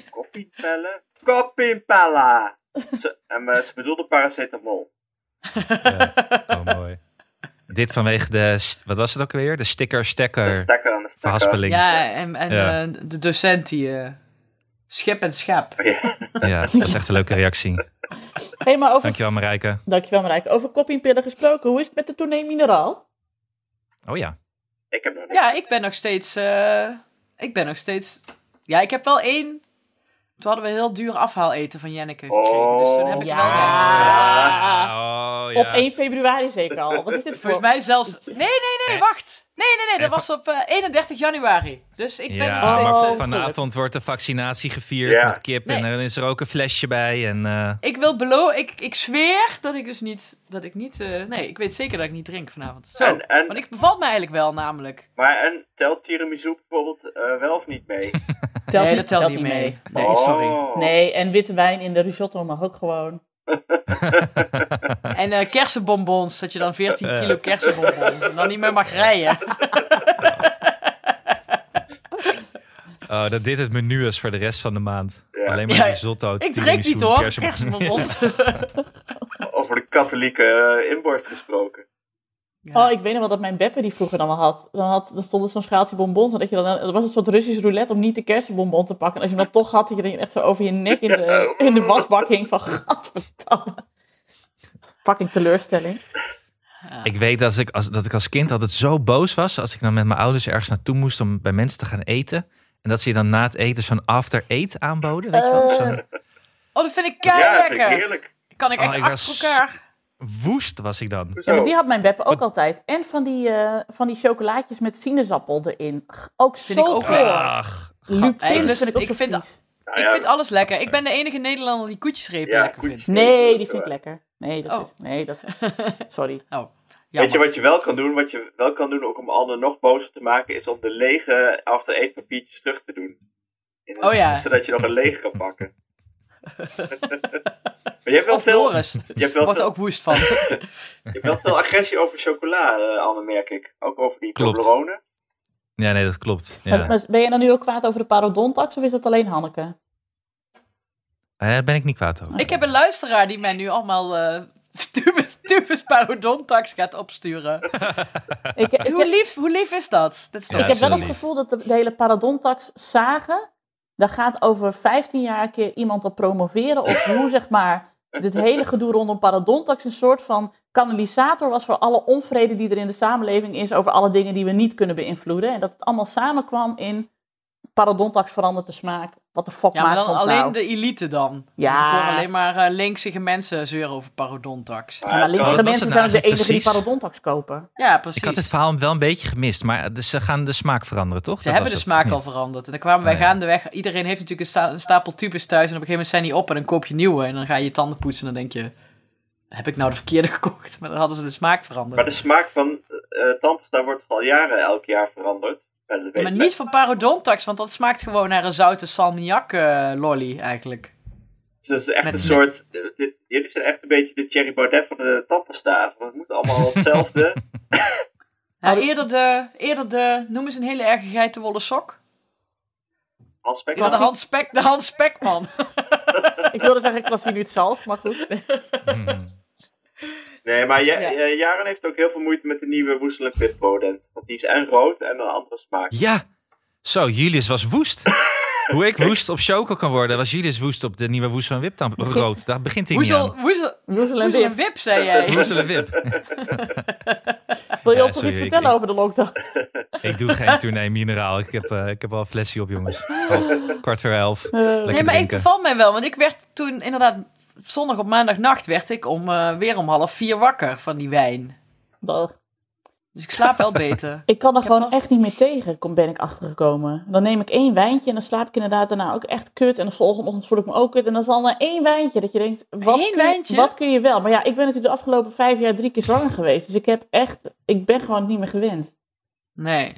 Speaker 4: Koppie pellen? Koppie pellen. Ze, en, eh, ze bedoelde paracetamol.
Speaker 3: Oh, mooi. Dit vanwege de, st- wat was het ook weer? De sticker,
Speaker 4: De
Speaker 3: stekker,
Speaker 4: stekker aan de stekker.
Speaker 3: verhaspeling.
Speaker 1: Ja, en, en
Speaker 3: Ja.
Speaker 1: eh, de docent die... eh, schip en schap.
Speaker 4: Ja.
Speaker 3: Ja, dat is echt een leuke reactie.
Speaker 2: Hey, maar over,
Speaker 3: Dankjewel Marijke.
Speaker 2: dankjewel Marijke. Over koppingpillen gesproken, hoe is het met de Tournee Mineraal?
Speaker 3: Oh ja.
Speaker 4: Ik heb nog niks.
Speaker 1: Ja, ik ben nog steeds. eh, ik ben nog steeds. Ja, ik heb wel één. Toen hadden we heel duur afhaaleten van Jenneke gekregen. dus toen heb ik
Speaker 4: Oh,
Speaker 2: Ja.
Speaker 1: wel.
Speaker 2: Ah.
Speaker 3: Oh,
Speaker 2: Op 1 februari zeker al. Wat is dit voor?
Speaker 1: Volgens mij zelfs. Nee, nee, nee,
Speaker 3: Eh?
Speaker 1: wacht. Nee, nee, nee,
Speaker 3: Eh,
Speaker 1: dat was op eh, 31 januari. Dus ik ben
Speaker 3: ja,
Speaker 1: nog steeds.
Speaker 3: maar
Speaker 1: eh,
Speaker 3: vanavond wordt de vaccinatie gevierd
Speaker 4: Ja.
Speaker 3: met kip en
Speaker 1: Nee.
Speaker 3: dan is er ook een flesje bij. En, eh,
Speaker 1: ik wil beloven, ik, ik zweer dat ik dus niet, dat ik niet, eh, nee, ik weet zeker dat ik niet drink vanavond. Zo,
Speaker 4: En- en-
Speaker 1: want ik bevalt me eigenlijk wel namelijk.
Speaker 4: Maar en telt tiramisu bijvoorbeeld eh, wel of niet mee?
Speaker 2: Telt
Speaker 1: nee,
Speaker 2: niet-
Speaker 1: dat telt, niet mee. Nee,
Speaker 4: Oh.
Speaker 1: sorry.
Speaker 2: Nee, en witte wijn in de risotto mag ook gewoon.
Speaker 1: En eh, kersenbonbons, dat je dan 14 kilo kersenbonbons en dan niet meer mag rijden.
Speaker 3: oh, dat dit het menu is voor de rest van de maand.
Speaker 4: Ja.
Speaker 3: Alleen maar
Speaker 1: Ja,
Speaker 3: risotto,
Speaker 1: Ik drink
Speaker 3: tiramisu,
Speaker 1: niet hoor,
Speaker 3: kersen-
Speaker 1: kersenbonbons.
Speaker 4: Over de katholieke eh, inborst gesproken.
Speaker 1: Ja.
Speaker 2: Oh, ik weet nog wel dat mijn Beppe die vroeger dan wel had. Dan, had, dan stond er zo'n schaaltje bonbons. En dat je dan, er was een soort Russisch roulette om niet de kersenbonbon te pakken. En als je hem dan toch had, dat je dan echt zo over je nek in de, in de wasbak hing van... Gadverdamme. Fucking teleurstelling.
Speaker 3: Ik weet dat ik, als, dat ik als kind altijd zo boos was als ik dan met mijn ouders ergens naartoe moest om bij mensen te gaan eten. En dat ze je dan na het eten zo'n after-eat aanboden. Weet je wel? Zo'n-
Speaker 1: Oh, dat vind ik
Speaker 4: ja,
Speaker 1: keihard
Speaker 4: vind ik
Speaker 1: lekker.
Speaker 4: heerlijk.
Speaker 1: Kan ik
Speaker 3: Oh,
Speaker 1: echt
Speaker 3: ik
Speaker 1: achter
Speaker 3: was-
Speaker 1: elkaar.
Speaker 3: woest was ik dan.
Speaker 2: Ja,
Speaker 4: Hoezo?
Speaker 2: maar die had mijn Beppe ook altijd. En van die, eh, van die chocolaatjes met sinaasappel erin. G- Ook
Speaker 1: Vind
Speaker 2: zo
Speaker 1: ik ook
Speaker 2: goor.
Speaker 1: lekker.
Speaker 3: Ach,
Speaker 2: Lupin
Speaker 1: Ik lust-
Speaker 2: vind ik ook
Speaker 1: ik
Speaker 2: zo
Speaker 1: vind-
Speaker 2: vies.
Speaker 4: Nou
Speaker 1: ik
Speaker 4: ja,
Speaker 1: vind alles lekker. Ik ben de enige Nederlander die koetjesrepen
Speaker 4: Ja,
Speaker 1: lekker vindt.
Speaker 4: koetjes.
Speaker 2: Nee, die vind ik lekker. Nee, dat
Speaker 1: Oh.
Speaker 2: is... Nee, dat... Sorry.
Speaker 1: Oh,
Speaker 4: Weet je
Speaker 1: jammer.
Speaker 4: wat je wel kan doen? Wat je wel kan doen ook om anderen nog bozer te maken, is om de lege after eat papiertjes terug te doen. In-
Speaker 1: Oh ja.
Speaker 4: Zodat je nog een lege kan pakken. maar je hebt wel
Speaker 1: Of
Speaker 4: veel,
Speaker 1: Doris.
Speaker 4: je hebt wel
Speaker 1: Wordt er
Speaker 4: veel,
Speaker 1: ook woest van.
Speaker 4: je hebt wel veel agressie over chocola, eh, Anne, merk ik. Ook over die
Speaker 3: Klopt.
Speaker 4: Toblerone.
Speaker 3: Ja, nee, dat klopt.
Speaker 2: Maar-
Speaker 3: Ja.
Speaker 2: maar ben je dan nu ook kwaad over de parodontax of is dat alleen Hanneke?
Speaker 3: Eh, Daar ben ik niet kwaad over.
Speaker 1: ik heb een luisteraar die mij nu allemaal eh tubus, tubus parodontax gaat opsturen.
Speaker 2: Ik, ik,
Speaker 1: Hoe
Speaker 2: heb,
Speaker 1: lief, hoe lief is dat? Dat is toch
Speaker 3: Ja,
Speaker 2: ik heb wel
Speaker 3: heel
Speaker 2: het
Speaker 3: lief.
Speaker 2: gevoel dat de, de hele parodontax zagen. Daar gaat over 15 jaar een keer iemand op promoveren. Op hoe zeg maar dit hele gedoe rondom parodontax een soort van kanalisator was voor alle onvrede die er in de samenleving is. Over alle dingen die we niet kunnen beïnvloeden. En dat het allemaal samenkwam in Parodontax verandert de smaak. Wat de fuck
Speaker 1: Ja, maar
Speaker 2: maakt
Speaker 1: dan
Speaker 2: ons
Speaker 1: alleen
Speaker 2: nou?
Speaker 1: de elite dan.
Speaker 2: Ja.
Speaker 1: Want ik hoor alleen maar eh, linksige mensen zeuren over parodontax.
Speaker 2: Ja, maar
Speaker 3: dat
Speaker 2: linkse
Speaker 3: was
Speaker 2: mensen
Speaker 3: het
Speaker 2: zijn ook de
Speaker 3: eigenlijk
Speaker 2: enige die
Speaker 3: precies.
Speaker 2: parodontax kopen.
Speaker 1: Ja, precies.
Speaker 3: Ik had het verhaal wel een beetje gemist, maar de- ze gaan de smaak veranderen, toch?
Speaker 1: Ze hebben de smaak al veranderd. En dan kwamen wij
Speaker 3: Oh, ja.
Speaker 1: gaandeweg. Iedereen heeft natuurlijk een, sta- een stapel tubes thuis. En op een gegeven moment zijn die op. En dan koop je nieuwe. En dan ga je je tanden poetsen. En dan denk je: heb ik nou de verkeerde gekocht? Maar dan hadden ze de smaak veranderd.
Speaker 4: Maar de smaak van eh tandpasta wordt al jaren elk jaar veranderd. Ja, dat
Speaker 1: Ja,
Speaker 4: weet
Speaker 1: maar
Speaker 4: ik
Speaker 1: niet van parodontax. Want dat smaakt gewoon naar een zoute salmiak eh, lolly eigenlijk.
Speaker 4: Dus Het is echt
Speaker 1: Met-
Speaker 4: een soort. eh, dit- jullie zijn echt een beetje de Thierry Baudet van de tandpasta. Want Het moet allemaal hetzelfde.
Speaker 1: Ja, eerder, de, eerder de. Noem eens een hele erge geitenwolle sok.
Speaker 4: Hans Beck.
Speaker 1: Maar de Hans Spek, de Hans Spekman.
Speaker 2: Ik wilde zeggen, ik was hier nu het zalf, maar goed.
Speaker 4: Nee, maar ja,
Speaker 1: Ja.
Speaker 4: eh, Jaren heeft ook heel veel moeite met de nieuwe Woestelijk Pit Rodent. Want die is en rood en een andere smaak.
Speaker 3: Ja! Zo, Julius was woest. Hoe ik woest op Choco kan worden, was Julius woest op de nieuwe Woesel en Wiptamp. Rood, daar begint hij niet
Speaker 1: Hoezel,
Speaker 3: aan.
Speaker 1: hoezel,
Speaker 2: Woezel en
Speaker 1: hoezel en
Speaker 2: Wip,
Speaker 1: wip, zei jij.
Speaker 3: Woesel en Wip.
Speaker 2: wil je
Speaker 3: Ja,
Speaker 2: ons nog
Speaker 3: sorry,
Speaker 2: iets
Speaker 3: ik-
Speaker 2: vertellen
Speaker 3: ik-
Speaker 2: over de lockdown?
Speaker 3: Ik doe geen tournee mineraal. Ik heb, eh, ik heb al een flesje op, jongens. Kwart, kwart voor elf.
Speaker 2: Eh,
Speaker 3: Lekker
Speaker 1: Nee, maar ik
Speaker 3: drinken.
Speaker 1: beval mij wel. Want ik werd toen inderdaad... Zondag op maandagnacht werd ik om, eh, weer om half vier wakker van die wijn.
Speaker 2: Dag.
Speaker 1: Dus ik slaap wel beter.
Speaker 2: Ik kan er
Speaker 1: heb
Speaker 2: gewoon
Speaker 1: nog-
Speaker 2: echt niet meer tegen, kom, ben ik achtergekomen. Dan neem ik één wijntje en dan slaap ik inderdaad daarna ook echt kut. En de volgende ochtend voel ik me ook kut. En dan is al maar één wijntje dat je denkt, wat,
Speaker 1: Eén
Speaker 2: kun,
Speaker 1: wijntje?
Speaker 2: wat kun je wel? Maar ja, ik ben natuurlijk de afgelopen vijf jaar drie keer zwanger geweest. Dus ik heb echt, ik ben gewoon niet meer gewend.
Speaker 1: Nee,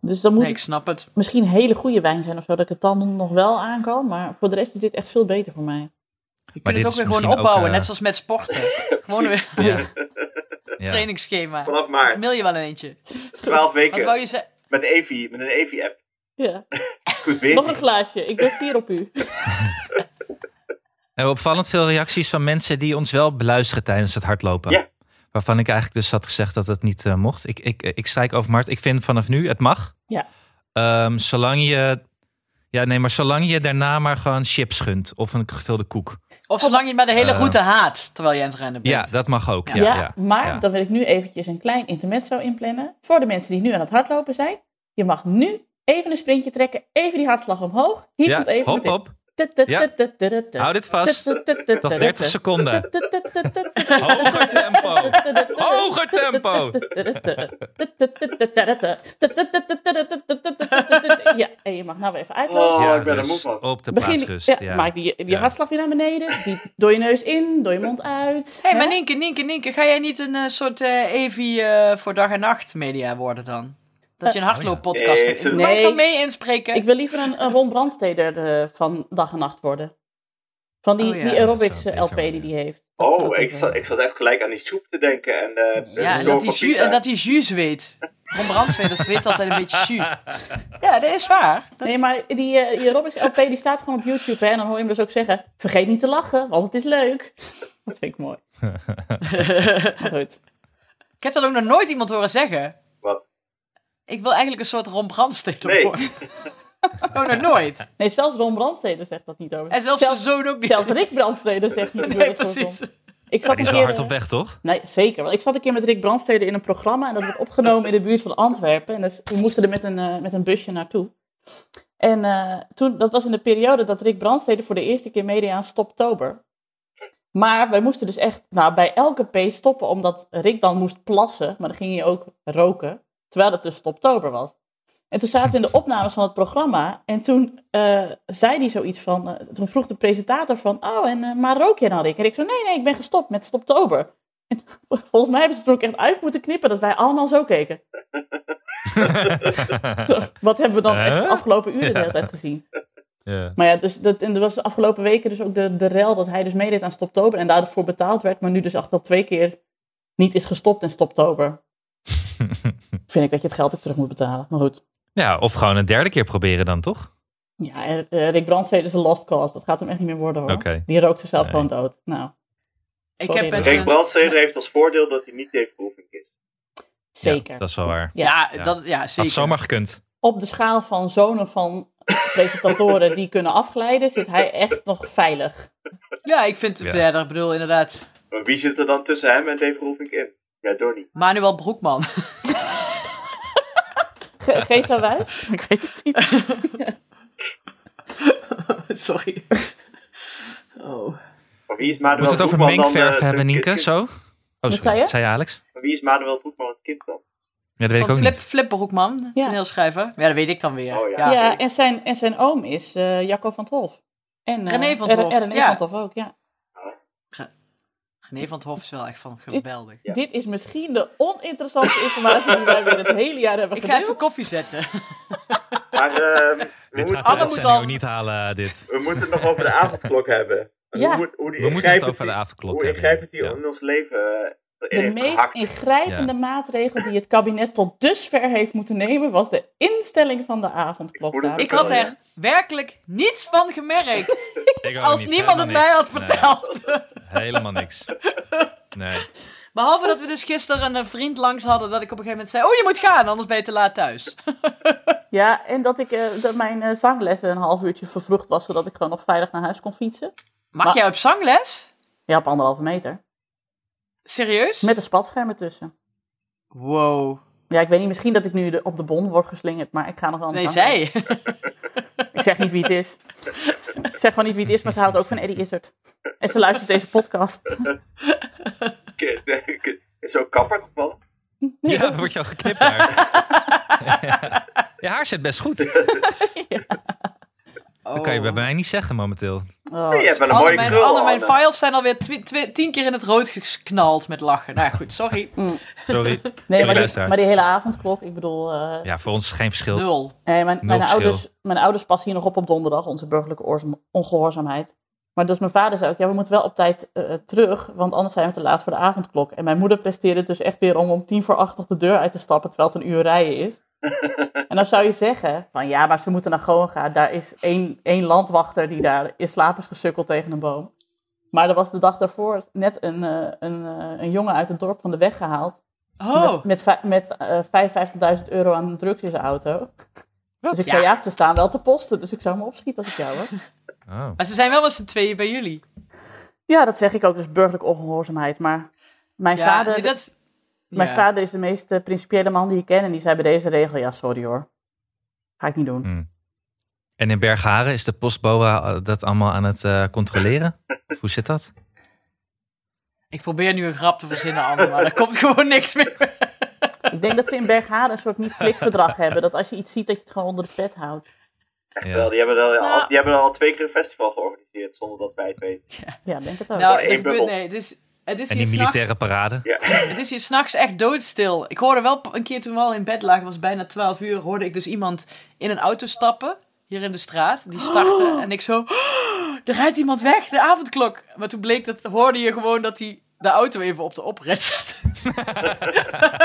Speaker 2: Dus dan moet
Speaker 1: nee ik
Speaker 2: het
Speaker 1: snap het.
Speaker 2: misschien hele goede wijn zijn of zo, dat ik het dan nog wel aan kan. Maar voor de rest is dit echt veel beter voor mij.
Speaker 1: Je
Speaker 3: Maar
Speaker 1: kunt het
Speaker 3: dit
Speaker 1: ook
Speaker 3: is
Speaker 1: weer gewoon
Speaker 3: misschien ook,
Speaker 1: opbouwen.
Speaker 3: eh,
Speaker 1: Net zoals met sporten. gewoon
Speaker 4: Precies.
Speaker 1: weer
Speaker 3: Ja.
Speaker 1: een
Speaker 3: Ja.
Speaker 1: trainingsschema.
Speaker 4: Vanaf maart.
Speaker 1: Mil je wel een eentje.
Speaker 4: 12
Speaker 1: Wat wou
Speaker 4: weken.
Speaker 1: je zeggen?
Speaker 4: Met Evi, met een Evi-app.
Speaker 2: Ja.
Speaker 4: Goed
Speaker 2: Nog een
Speaker 4: weer.
Speaker 2: glaasje, ik ben fier op u.
Speaker 3: We hebben Eh, opvallend veel reacties van mensen die ons wel beluisteren tijdens het hardlopen.
Speaker 4: Ja.
Speaker 3: Waarvan ik eigenlijk dus had gezegd dat het niet eh, mocht. Ik, ik, ik strijk over Mart. Ik vind vanaf nu, het mag.
Speaker 2: Ja.
Speaker 3: Ehm, zolang je... Ja, nee, maar zolang je daarna maar gewoon chips gunt. Of een gevulde koek.
Speaker 1: Of zolang je het maar de hele
Speaker 3: Eh.
Speaker 1: route haat terwijl jij aan het rennen bent.
Speaker 3: Ja, dat mag ook. Ja,
Speaker 2: Ja,
Speaker 3: ja,
Speaker 2: maar
Speaker 3: ja.
Speaker 2: dan wil ik nu eventjes een klein intermezzo inplannen. Voor de mensen die nu aan het hardlopen zijn. Je mag nu even een sprintje trekken. Even die hartslag omhoog. Hier
Speaker 3: Ja,
Speaker 2: komt even
Speaker 3: hop, hop. Ja. Hou dit vast. Nog 30 seconden. Hoger tempo. Hoger tempo.
Speaker 2: Ja, en je mag nou weer even uitlopen.
Speaker 4: Oh,
Speaker 3: ja,
Speaker 4: ik ben er moe
Speaker 3: rust
Speaker 4: van.
Speaker 3: Op de
Speaker 2: Begin,
Speaker 3: plaatsrust.
Speaker 2: ja,
Speaker 3: Ja,
Speaker 2: Maak die, die
Speaker 3: Ja.
Speaker 2: hartslag weer naar beneden. Die door je neus in, door je mond uit.
Speaker 1: Hé, hey,
Speaker 2: Hè?
Speaker 1: maar Nienke, Nienke, Nienke, ga jij niet een eh, soort eh Evi eh, voor dag en nacht media worden dan? Dat je een hardlooppodcast
Speaker 4: Eh,
Speaker 1: hebt.
Speaker 4: ze-
Speaker 1: Mag ik
Speaker 2: Nee.
Speaker 1: dan mee inspreken?
Speaker 2: Ik wil liever een, een Ron Brandsteder eh, van dag en nacht worden. Van die,
Speaker 1: Oh ja.
Speaker 2: die aerobics
Speaker 3: Dat zou
Speaker 2: eh, LP
Speaker 3: beter
Speaker 2: die die heeft. Dat zou
Speaker 4: Oh,
Speaker 2: beter
Speaker 4: ik zat, ik zat echt gelijk aan die soep te denken. En, eh
Speaker 1: Ja, en dat die, ju, en dat die jus weet. Ron Brandsweders weet altijd een beetje jus. Ja, dat is waar.
Speaker 2: Nee, maar die, eh, die aerobics LP die staat gewoon op YouTube. Hè, en dan hoor je hem dus ook zeggen, vergeet niet te lachen, want het is leuk. Dat vind ik mooi. Maar goed.
Speaker 1: Ik heb dat ook nog nooit iemand horen zeggen.
Speaker 4: Wat?
Speaker 1: Ik wil eigenlijk een soort Ron Brandsteder
Speaker 4: Nee.
Speaker 1: worden. Ook Oh, nog nooit.
Speaker 2: Nee, zelfs Ron Brandsteder zegt dat niet over.
Speaker 1: En zelfs zijn
Speaker 2: zelfs,
Speaker 1: zoon ook niet.
Speaker 2: zelfs Rick Brandsteder zegt niet
Speaker 1: nee,
Speaker 2: over.
Speaker 1: precies.
Speaker 2: Ik
Speaker 3: Maar
Speaker 2: zat
Speaker 3: die is wel
Speaker 2: een keer,
Speaker 3: hard
Speaker 2: eh,
Speaker 3: op weg, toch?
Speaker 2: Nee, zeker. Want ik zat een keer met Rick Brandstede in een programma en dat werd opgenomen in de buurt van Antwerpen. En dus we moesten er met een, eh, met een busje naartoe. En eh, toen, dat was in de periode dat Rick Brandstede voor de eerste keer meedeed aan Stoptober. Maar wij moesten dus echt nou, bij elke P stoppen, omdat Rick dan moest plassen. Maar dan ging hij ook roken, terwijl het dus Stoptober was. En toen zaten we in de opnames van het programma. En toen eh, zei hij zoiets van... eh, toen vroeg de presentator van... Oh, en, eh, maar rook jij dan, Rick? En ik zo... Nee, nee, ik ben gestopt met Stoptober. En volgens mij hebben ze het er ook echt uit moeten knippen... dat wij allemaal zo keken. Wat hebben we dan echt de
Speaker 3: Huh?
Speaker 2: afgelopen uren de hele
Speaker 3: Ja.
Speaker 2: tijd gezien?
Speaker 3: Ja.
Speaker 2: Maar ja, dus dat, en er was de afgelopen weken dus ook de, de rel... dat hij dus meedeed aan Stoptober en daarvoor betaald werd... maar nu dus echt al twee keer niet is gestopt in Stoptober. Vind ik dat je het geld ook terug moet betalen. Maar goed.
Speaker 3: ja, of gewoon een derde keer proberen dan, toch?
Speaker 2: Ja, eh, Rick Brandstede is een lost cause. Dat gaat hem echt niet meer worden hoor.
Speaker 3: Oké.
Speaker 2: Die rookt zichzelf
Speaker 3: Nee.
Speaker 2: gewoon dood. Nou,
Speaker 1: Ik heb
Speaker 2: Sorry, Rick.
Speaker 1: met
Speaker 4: Rick
Speaker 1: een-
Speaker 4: Brandsteder heeft als voordeel dat hij niet Dave Roelvink is.
Speaker 2: zeker.
Speaker 3: Ja, dat is wel waar.
Speaker 1: Ja,
Speaker 3: Ja.
Speaker 1: dat, ja
Speaker 3: Had
Speaker 1: zeker.
Speaker 3: zomaar gekund.
Speaker 2: Op de schaal van zonen van presentatoren die kunnen afglijden, zit hij echt nog veilig.
Speaker 1: Ja, ik vind
Speaker 3: Ja.
Speaker 1: het verder. Ik bedoel, inderdaad.
Speaker 4: Maar wie zit er dan tussen hem en Dave Roelvink in? Ja, Donnie.
Speaker 1: Manuel Broekman.
Speaker 2: Ge Geef wijs? Ik weet het niet.
Speaker 1: Sorry. Oh.
Speaker 4: Van wie is Manuel
Speaker 3: Moeten we het over
Speaker 4: Broekman dan, eh,
Speaker 3: mengverf
Speaker 4: de
Speaker 3: hebben,
Speaker 4: kind-
Speaker 3: Nienke?
Speaker 4: kind-
Speaker 3: Zo? Oh, sorry.
Speaker 2: zei je?
Speaker 3: zei Alex?
Speaker 4: Van wie is Manuel Broekman het kind dan?
Speaker 3: Ja, dat weet ik
Speaker 1: Van
Speaker 3: ook
Speaker 1: Flip,
Speaker 3: niet.
Speaker 1: Flip Broekman,
Speaker 2: Ja.
Speaker 1: toneelschrijver. Ja, dat weet ik dan weer.
Speaker 4: Oh, ja.
Speaker 1: ja.
Speaker 2: Ja,
Speaker 4: ik-
Speaker 2: en, zijn, en zijn oom is eh, Jacco van 12. En, eh,
Speaker 1: René van
Speaker 2: en-
Speaker 1: het Hof,
Speaker 2: en René
Speaker 1: ja.
Speaker 2: van het Hof ook, ja.
Speaker 1: René van het Hof is wel echt van geweldig.
Speaker 4: Ja.
Speaker 2: Dit is misschien de oninteressantste informatie die wij weer het hele jaar hebben
Speaker 1: Ik ga
Speaker 2: gedeeld.
Speaker 1: even koffie zetten.
Speaker 4: Maar ehm, we,
Speaker 3: Dit
Speaker 4: moeten,
Speaker 3: gaat de
Speaker 1: Anne moet
Speaker 3: uitzending
Speaker 1: al-
Speaker 3: niet halen, eh, dit.
Speaker 4: we moeten het nog over de avondklok hebben. En
Speaker 2: Ja.
Speaker 4: Hoe, hoe die
Speaker 3: We moeten het
Speaker 4: ingrijpend
Speaker 3: over de
Speaker 4: die-
Speaker 3: avondklok
Speaker 4: Hoe
Speaker 3: hebben.
Speaker 4: ingrijpend die
Speaker 3: ja.
Speaker 4: in ons leven eh, erin
Speaker 2: De
Speaker 4: heeft
Speaker 2: meest
Speaker 4: gehakt.
Speaker 2: ingrijpende maatregel die het kabinet tot dusver heeft moeten nemen was de instelling van de avondklok.
Speaker 4: Ik moet het
Speaker 2: dames
Speaker 1: Ik
Speaker 2: en
Speaker 1: had
Speaker 2: heren.
Speaker 1: er werkelijk niets van gemerkt.
Speaker 3: Ik ook
Speaker 1: Als
Speaker 3: niet,
Speaker 1: niemand
Speaker 3: helemaal
Speaker 1: het mij had
Speaker 3: niks. Nee,
Speaker 1: verteld.
Speaker 3: helemaal niks. Nee.
Speaker 1: Behalve dat we dus gisteren een vriend langs hadden dat ik op een gegeven moment zei... Oh, je moet gaan, anders ben je te laat thuis.
Speaker 2: Ja, en dat, ik, eh, dat mijn eh, zanglessen een half uurtje vervroegd was, zodat ik gewoon nog veilig naar huis kon fietsen.
Speaker 1: Mag
Speaker 2: Maar-
Speaker 1: jij op zangles?
Speaker 2: Ja, op anderhalve meter.
Speaker 1: Serieus?
Speaker 2: Met een spatscherm ertussen.
Speaker 1: Wow.
Speaker 2: Ja, ik weet niet, misschien dat ik nu de- op de bon word geslingerd, maar ik ga nog wel aan de
Speaker 1: Nee,
Speaker 2: gang.
Speaker 1: zij.
Speaker 2: Ik zeg niet wie het is. ik zeg gewoon niet wie het is, maar ze houdt ook van Eddie Izzard. En ze luistert deze podcast.
Speaker 4: Is zo'n kapper
Speaker 1: Oh,
Speaker 4: toevallig?
Speaker 3: Ja, dan word je al geknipt daar. Je haar zit best goed. Dat
Speaker 1: Oh.
Speaker 3: kan je bij mij niet zeggen momenteel.
Speaker 2: Oh,
Speaker 4: je hebt wel een
Speaker 1: Alle
Speaker 4: mooie
Speaker 1: mijn,
Speaker 4: krul, eh.
Speaker 1: alle mijn
Speaker 4: Anne.
Speaker 1: files zijn alweer twi- twi- tien keer in het rood geknald met lachen. Nou goed, sorry.
Speaker 2: Mm.
Speaker 3: Sorry.
Speaker 2: nee, maar die,
Speaker 3: luisteraars.
Speaker 2: maar die hele avondklok, ik bedoel... eh,
Speaker 3: Ja, voor ons is geen verschil.
Speaker 1: Nul.
Speaker 2: nee, mijn, mijn,
Speaker 3: verschil.
Speaker 2: ouders, mijn ouders passen hier nog op op donderdag, onze burgerlijke oorzaam- ongehoorzaamheid. Maar dus mijn vader zei ook, ja, we moeten wel op tijd eh, terug, want anders zijn we te laat voor de avondklok. En mijn moeder presteerde het dus echt weer om om tien voor acht nog de deur uit te stappen, terwijl het een uur rijden is. en dan zou je zeggen, van ja, maar ze moeten naar Goa gaan. Daar is één, één landwachter die daar in slaap is gesukkeld tegen een boom. Maar er was de dag daarvoor net een, eh, een, eh, een jongen uit het dorp van de weg gehaald.
Speaker 1: Oh,
Speaker 2: Met, met, vij- met eh, 55.000 euro aan drugs in zijn auto. Dus ik
Speaker 1: Ja.
Speaker 2: zei, ja, ze staan wel te posten, dus ik zou me opschieten als ik jou hoor.
Speaker 3: Oh.
Speaker 1: maar ze zijn wel met z'n tweeën bij jullie.
Speaker 2: Ja, dat zeg ik ook, dus burgerlijke ongehoorzaamheid. Maar mijn,
Speaker 1: Ja,
Speaker 2: vader,
Speaker 1: nee, dat...
Speaker 2: mijn
Speaker 1: ja.
Speaker 2: vader is de meest eh, principiële man die ik ken. En die zei bij deze regel, ja, sorry hoor. Ga ik niet doen.
Speaker 3: En in Bergharen is de postboa eh, dat allemaal aan het eh, controleren? Of hoe zit dat?
Speaker 1: Ik probeer nu een grap te verzinnen, Anne, maar daar komt gewoon niks meer.
Speaker 2: Ik denk dat ze in Bergharen een soort niet-klikverdrag hebben. Dat als je iets ziet, dat je het gewoon onder de pet houdt.
Speaker 4: Echt
Speaker 3: Ja.
Speaker 4: wel, die hebben, er al,
Speaker 1: Nou.
Speaker 4: die hebben er al twee keer een festival georganiseerd zonder dat wij het weten.
Speaker 2: Ja, ik denk het ook.
Speaker 1: Nou,
Speaker 4: één
Speaker 1: er gebeurt,
Speaker 4: bubbel.
Speaker 1: nee, het is, het is
Speaker 3: En
Speaker 1: hier
Speaker 3: die militaire
Speaker 1: s'nachts-
Speaker 3: parade?
Speaker 4: Ja.
Speaker 1: Het is hier s'nachts echt doodstil. Ik hoorde wel p- een keer toen we al in bed lagen, was bijna 12 uur, hoorde ik dus iemand in een auto stappen. Hier in de straat.
Speaker 2: Oh.
Speaker 1: Die startte. En ik zo. "Oh, er rijdt iemand weg, de avondklok. Maar toen bleek dat, hoorde je gewoon dat hij de auto even op de oprit zet.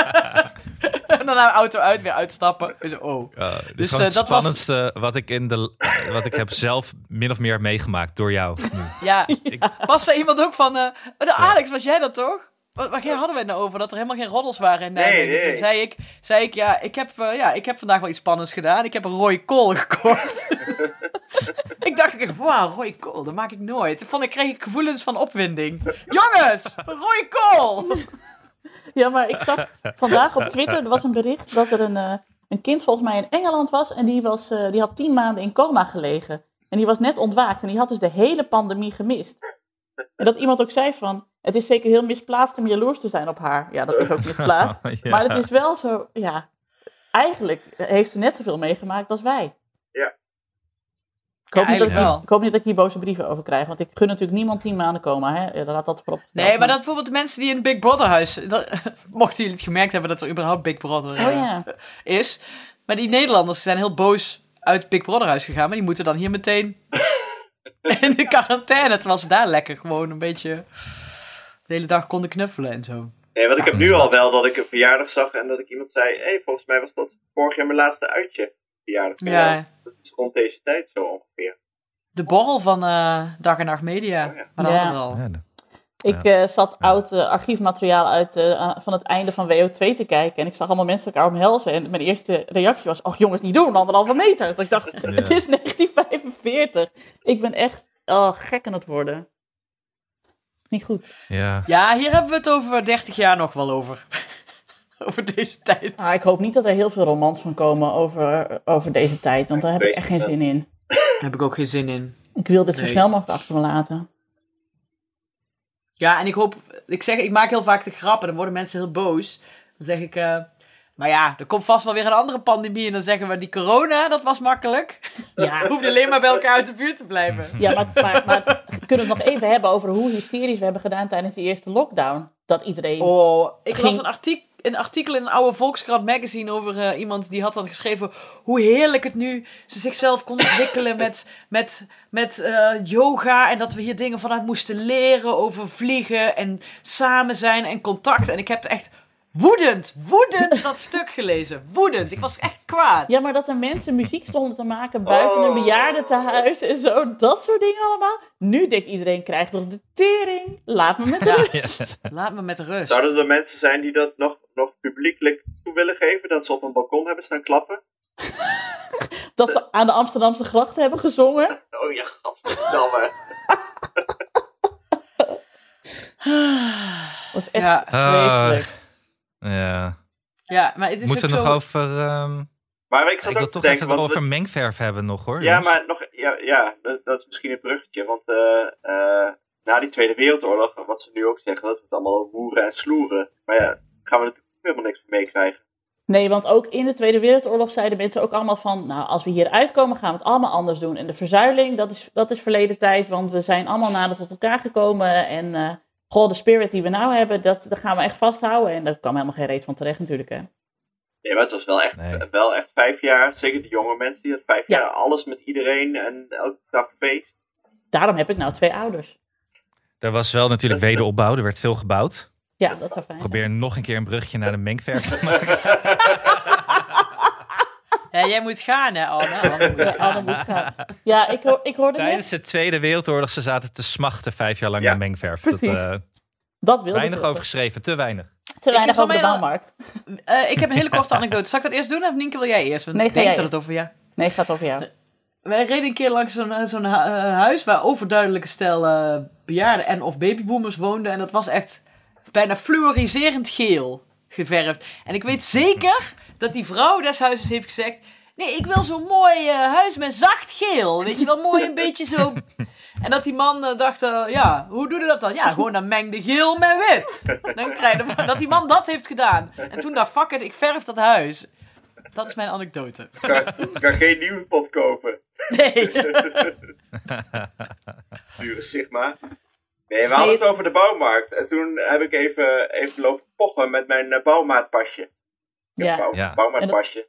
Speaker 1: en daarna de auto uit, weer uitstappen. En zo, oh.
Speaker 3: Ja, dit
Speaker 1: Dus,
Speaker 3: is gewoon
Speaker 1: eh,
Speaker 3: het
Speaker 1: dat was-
Speaker 3: spannendste wat, ik in de, eh, wat ik heb zelf min of meer heb meegemaakt door jou. Nu.
Speaker 1: Ja.
Speaker 3: Ik-
Speaker 1: Was daar iemand ook van. eh, de Alex, was jij dat toch? Wat, waar hadden we het nou over? Dat er helemaal geen roddels waren in
Speaker 4: Nee,
Speaker 1: Nijmegen.
Speaker 4: nee.
Speaker 1: Toen zei ik, zei ik, ja, ik heb, eh, ja, ik heb vandaag wel iets spannends gedaan. Ik heb een rode kool gekocht. ik dacht, ik, wauw, rode kool, dat maak ik nooit. Toen vond ik, kreeg ik gevoelens van opwinding. Jongens, een rode kool!
Speaker 2: Ja, maar ik zag vandaag op Twitter, er was een bericht dat er een, eh, een kind volgens mij in Engeland was. En die, was, eh, die had tien maanden in coma gelegen. En die was net ontwaakt en die had dus de hele pandemie gemist. En dat iemand ook zei van, het is zeker heel misplaatst om jaloers te zijn op haar. Ja, dat is ook misplaatst.
Speaker 3: Ja.
Speaker 2: Maar het is wel zo, ja, eigenlijk heeft ze net zoveel meegemaakt als wij.
Speaker 4: Ja.
Speaker 2: Ik hoop,
Speaker 1: Ja,
Speaker 2: niet dat
Speaker 1: eigenlijk
Speaker 2: ik, hier-
Speaker 1: wel.
Speaker 2: ik hoop niet dat ik hier boze brieven over krijg, want ik gun natuurlijk niemand tien maanden coma. Hè? Eh, Laat dat voorop.
Speaker 1: Nee, maar dat bijvoorbeeld de mensen die in het Big Brother huis... dat- mochten jullie het gemerkt hebben dat er überhaupt Big Brother eh,
Speaker 2: Oh ja.
Speaker 1: is. Maar die Nederlanders zijn heel boos uit het Big Brother huis gegaan. Maar die moeten dan hier meteen in de quarantaine. Terwijl ze daar lekker gewoon een beetje de hele dag konden knuffelen en zo.
Speaker 4: Nee,
Speaker 3: Ah,
Speaker 4: want ik heb nu al wel dat ik een verjaardag zag en dat ik iemand zei: hé, hey, volgens mij was dat vorig jaar mijn laatste uitje. Verjaardag. van jou."
Speaker 1: Ja,
Speaker 4: Dat is rond deze tijd zo ongeveer.
Speaker 1: de borrel van eh, Dag en Nacht Media.
Speaker 4: Oh ja.
Speaker 1: Maar dat
Speaker 2: Ja.
Speaker 1: hadden we al.
Speaker 3: Ja, de-
Speaker 2: Ik eh, zat oud eh, archiefmateriaal uit, eh, a- van het einde van WO2 te kijken. En ik zag allemaal mensen elkaar omhelzen. En mijn eerste reactie was: Ach jongens, niet doen, anderhalve meter. Dat ik dacht: Het is 1945. Ik ben echt oh, gek aan het worden. Niet goed.
Speaker 3: ja.
Speaker 1: Ja, hier hebben we het over 30 jaar nog wel over. over deze tijd.
Speaker 2: Ah, ik hoop niet dat er heel veel romans van komen over, over deze tijd. Want daar heb ik echt geen zin in.
Speaker 1: Daar heb ik ook geen zin in.
Speaker 2: Ik wil dit zo
Speaker 1: Nee.
Speaker 2: snel mogelijk achter me laten.
Speaker 1: Ja, en ik hoop, ik zeg, ik maak heel vaak de grap en dan worden mensen heel boos. Dan zeg ik, eh, maar ja, er komt vast wel weer een andere pandemie en dan zeggen we die corona, dat was makkelijk.
Speaker 2: Ja,
Speaker 1: Hoef je alleen maar bij elkaar uit de buurt te blijven.
Speaker 2: ja maar, maar, maar we kunnen het nog even hebben over hoe hysterisch we hebben gedaan tijdens die eerste lockdown. Dat iedereen...
Speaker 1: Oh, ik las
Speaker 2: Ging-
Speaker 1: een, artiek, een artikel in een oude Volkskrant magazine over eh, iemand die had dan geschreven hoe heerlijk het nu ze zichzelf kon ontwikkelen met, met, met eh, yoga en dat we hier dingen vanuit moesten leren over vliegen en samen zijn en contact. En ik heb echt woedend, woedend dat stuk gelezen. Woedend. Ik was echt kwaad.
Speaker 2: Ja, maar dat er mensen muziek stonden te maken buiten een
Speaker 4: Oh.
Speaker 2: bejaardentehuis en zo. Dat soort dingen allemaal. Nu denkt iedereen, krijgt toch de tering? Laat me met
Speaker 1: Ja.
Speaker 2: rust.
Speaker 1: Laat me met rust.
Speaker 4: Zouden er mensen zijn die dat nog, nog publiekelijk toe willen geven? Dat ze op een balkon hebben staan klappen?
Speaker 2: Dat ze aan de Amsterdamse grachten hebben gezongen.
Speaker 4: Oh ja, gadverdamme.
Speaker 2: was echt
Speaker 1: Ja.
Speaker 2: vreselijk.
Speaker 3: Ah,
Speaker 1: Ah.
Speaker 3: Ja.
Speaker 1: Ja, maar het is
Speaker 3: Moeten we
Speaker 1: ook
Speaker 3: nog
Speaker 1: zo...
Speaker 3: over... ehm,
Speaker 4: Maar ik
Speaker 3: ik
Speaker 4: zat
Speaker 3: wil
Speaker 4: ook te
Speaker 3: toch
Speaker 4: denken,
Speaker 3: even
Speaker 4: want
Speaker 3: over
Speaker 4: we-
Speaker 3: mengverf hebben nog hoor. Dus
Speaker 4: ja,
Speaker 3: jongens.
Speaker 4: maar nog, ja, ja, dat, dat is misschien een bruggetje, want eh, eh, na die Tweede Wereldoorlog, wat ze nu ook zeggen, dat we het allemaal hoeren en sloeren. Maar ja, gaan we natuurlijk helemaal niks van meekrijgen.
Speaker 2: Nee, want ook in de Tweede Wereldoorlog zeiden mensen ook allemaal van... Nou, als we hier uitkomen gaan we het allemaal anders doen. En de verzuiling, dat is, dat is verleden tijd. Want we zijn allemaal nader tot elkaar gekomen. En eh, goh, de spirit die we nou hebben, dat, dat gaan we echt vasthouden. En daar kwam helemaal geen reet van terecht natuurlijk, hè.
Speaker 4: Nee, maar het was wel echt,
Speaker 3: Nee.
Speaker 4: wel echt vijf jaar, zeker de jonge mensen, die had vijf
Speaker 2: Ja.
Speaker 4: jaar alles met iedereen en elke dag feest.
Speaker 2: Daarom heb ik nou twee ouders.
Speaker 3: Er was wel natuurlijk wederopbouw, er werd veel gebouwd.
Speaker 2: Ja, dat zou fijn zijn.
Speaker 3: Probeer nog een keer een brugje naar de mengverf te maken.
Speaker 1: Ja, jij moet gaan, hè, Anne. Anne moet
Speaker 2: Ja, Anne
Speaker 1: gaan.
Speaker 2: Oh, moet gaan. Ja, ik, hoor, ik hoorde net.
Speaker 3: Tijdens de Tweede Wereldoorlog, ze zaten te smachten vijf jaar lang
Speaker 4: Ja,
Speaker 3: naar mengverf. Dat,
Speaker 2: precies.
Speaker 3: eh,
Speaker 2: Dat wilde
Speaker 3: weinig
Speaker 2: ze.
Speaker 3: over geschreven, te weinig.
Speaker 2: Te
Speaker 1: Ik heb
Speaker 2: weinig
Speaker 1: zo
Speaker 2: over de
Speaker 1: mijn-
Speaker 2: bouwmarkt.
Speaker 1: Eh, ik heb een hele korte anekdote. Zal ik dat eerst doen of Nienke wil jij eerst? Want
Speaker 2: Nee,
Speaker 1: ik
Speaker 2: ga
Speaker 1: denk
Speaker 2: jij
Speaker 1: dat het over jou...
Speaker 2: Nee, gaat over jou.
Speaker 1: Wij reden een keer langs zo'n zo'n hu- eh, huis waar overduidelijk een stel eh, bejaarden en of babyboomers woonden. En dat was echt bijna fluoriserend geel geverfd. En ik weet zeker dat die vrouw des huizes heeft gezegd... Nee, ik wil zo'n mooi eh, huis met zacht geel. Weet je wel, mooi een beetje zo... En dat die man eh, dacht, eh, ja, hoe doe je dat dan? Ja, gewoon dan meng de geel met wit. Dan krijg je dat die man dat heeft gedaan. En toen dacht, fuck it, ik verf dat huis. Dat is mijn anekdote.
Speaker 4: Ik kan, ik kan geen nieuwe pot kopen.
Speaker 1: Nee.
Speaker 4: dure Sigma. Nee, we hadden het over de bouwmarkt. En toen heb ik even, even lopen pochen met mijn eh, bouwmaatpasje.
Speaker 2: Ja.
Speaker 4: Bouw-
Speaker 3: Ja.
Speaker 4: Bouwmaatpasje.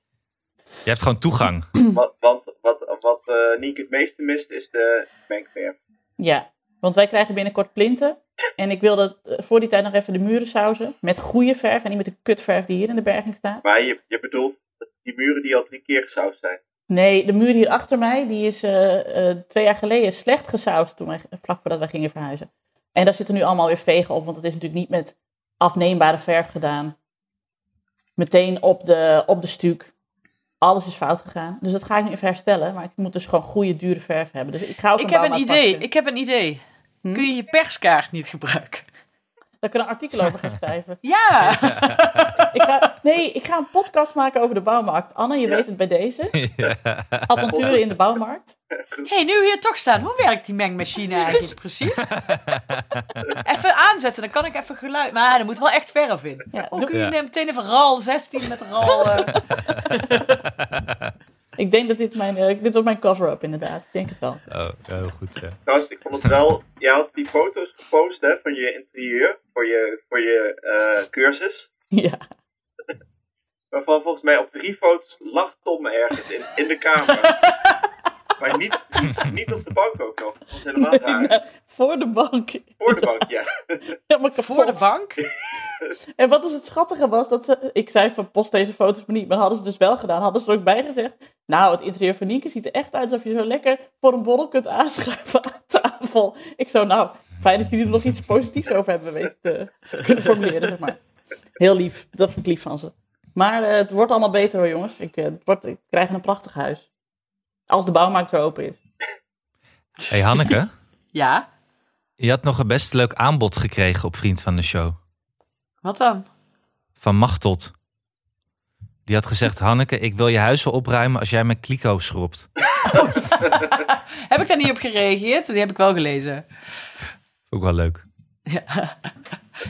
Speaker 3: Je hebt gewoon toegang.
Speaker 4: Want, want wat, wat eh, Nienke het meeste mist is de mengverf.
Speaker 2: Ja, want wij krijgen binnenkort plinten. En ik wil dat eh, voor die tijd nog even de muren sausen. Met goede verf en niet met de kutverf die hier in de berging staat.
Speaker 4: Maar je, je bedoelt die muren die al drie keer gesausd zijn.
Speaker 2: Nee, de muur hier achter mij, die is eh, eh, twee jaar geleden slecht gesausd. Toen wij, vlak voordat wij gingen verhuizen. En daar zitten nu allemaal weer vegen op. Want het is natuurlijk niet met afneembare verf gedaan. Meteen op de, op de stuk. Alles is fout gegaan. Dus dat ga ik nu even herstellen. Maar ik moet dus gewoon goede, dure verf hebben. Dus ik ga ook
Speaker 1: Ik heb een
Speaker 2: bouwmaatpasje.
Speaker 1: idee. Ik heb een idee.
Speaker 2: Hm?
Speaker 1: Kun je je perskaart niet gebruiken?
Speaker 2: Daar kunnen artikelen over gaan schrijven.
Speaker 1: Ja!
Speaker 2: Ik ga, nee, ik ga een podcast maken over de bouwmarkt. Anne, je
Speaker 4: Ja.
Speaker 2: weet het bij deze.
Speaker 3: ja.
Speaker 2: Avonturen in de bouwmarkt.
Speaker 1: hey, nu we hier toch staan. Hoe werkt die mengmachine eigenlijk precies? even aanzetten, dan kan ik even geluid... Maar er moet wel echt verf in.
Speaker 2: Ja,
Speaker 1: Oh,
Speaker 2: doe-
Speaker 1: kun je
Speaker 3: Ja.
Speaker 1: neemt meteen even RAL 16 met RAL... eh,
Speaker 2: ik denk dat dit mijn, eh, dit wordt mijn cover-up inderdaad. Ik denk het wel.
Speaker 3: Oh, heel goed. Ja.
Speaker 4: Trouwens, ik vond het wel... Jij had die foto's gepost hè, van je interieur, voor je, voor je eh, cursus.
Speaker 2: Ja.
Speaker 4: Waarvan volgens mij op drie foto's lag Tom ergens in, in de kamer. maar niet, niet, niet op de bank ook nog. Dat was helemaal raar.
Speaker 2: Voor de bank.
Speaker 4: Voor de bank, ja.
Speaker 2: Helemaal kapot.
Speaker 1: voor de bank?
Speaker 2: En wat dus het schattige was, dat ze, ik zei van post deze foto's maar niet, maar hadden ze dus wel gedaan. Hadden ze er ook bij gezegd, nou het interieur van Nienke ziet er echt uit alsof je zo lekker voor een borrel kunt aanschuiven aan tafel. Ik zo, nou, fijn dat jullie er nog iets positiefs over hebben weten te, te kunnen formuleren, zeg maar. Heel lief, dat vind ik lief van ze. Maar eh, het wordt allemaal beter hoor jongens, ik, eh, het wordt, ik krijg een prachtig huis. Als de bouwmarkt weer open is.
Speaker 3: Hey Hanneke,
Speaker 1: Ja?
Speaker 3: je had nog een best leuk aanbod gekregen op Vriend van de Show.
Speaker 1: Wat dan?
Speaker 3: Van Machtot. Die had gezegd, Hanneke, ik wil je huis wel opruimen als jij mijn kliko schropt.
Speaker 1: Heb ik daar niet op gereageerd? Die heb ik wel gelezen.
Speaker 3: Ook wel leuk.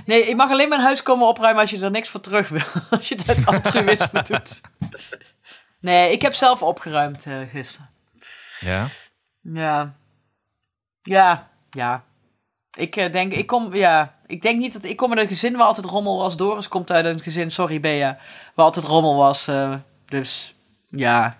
Speaker 1: Nee, ik mag alleen mijn huis komen opruimen als je er niks voor terug wil. Als je het uit altruïsme doet. Nee, ik heb zelf opgeruimd eh, gisteren.
Speaker 3: Ja.
Speaker 1: Ja. Ja, ja. Ik eh, denk, ik kom, ja. Ik denk niet dat ik kom uit een gezin waar altijd rommel was. Doris komt uit een gezin, sorry Bea, waar altijd rommel was. eh, dus ja.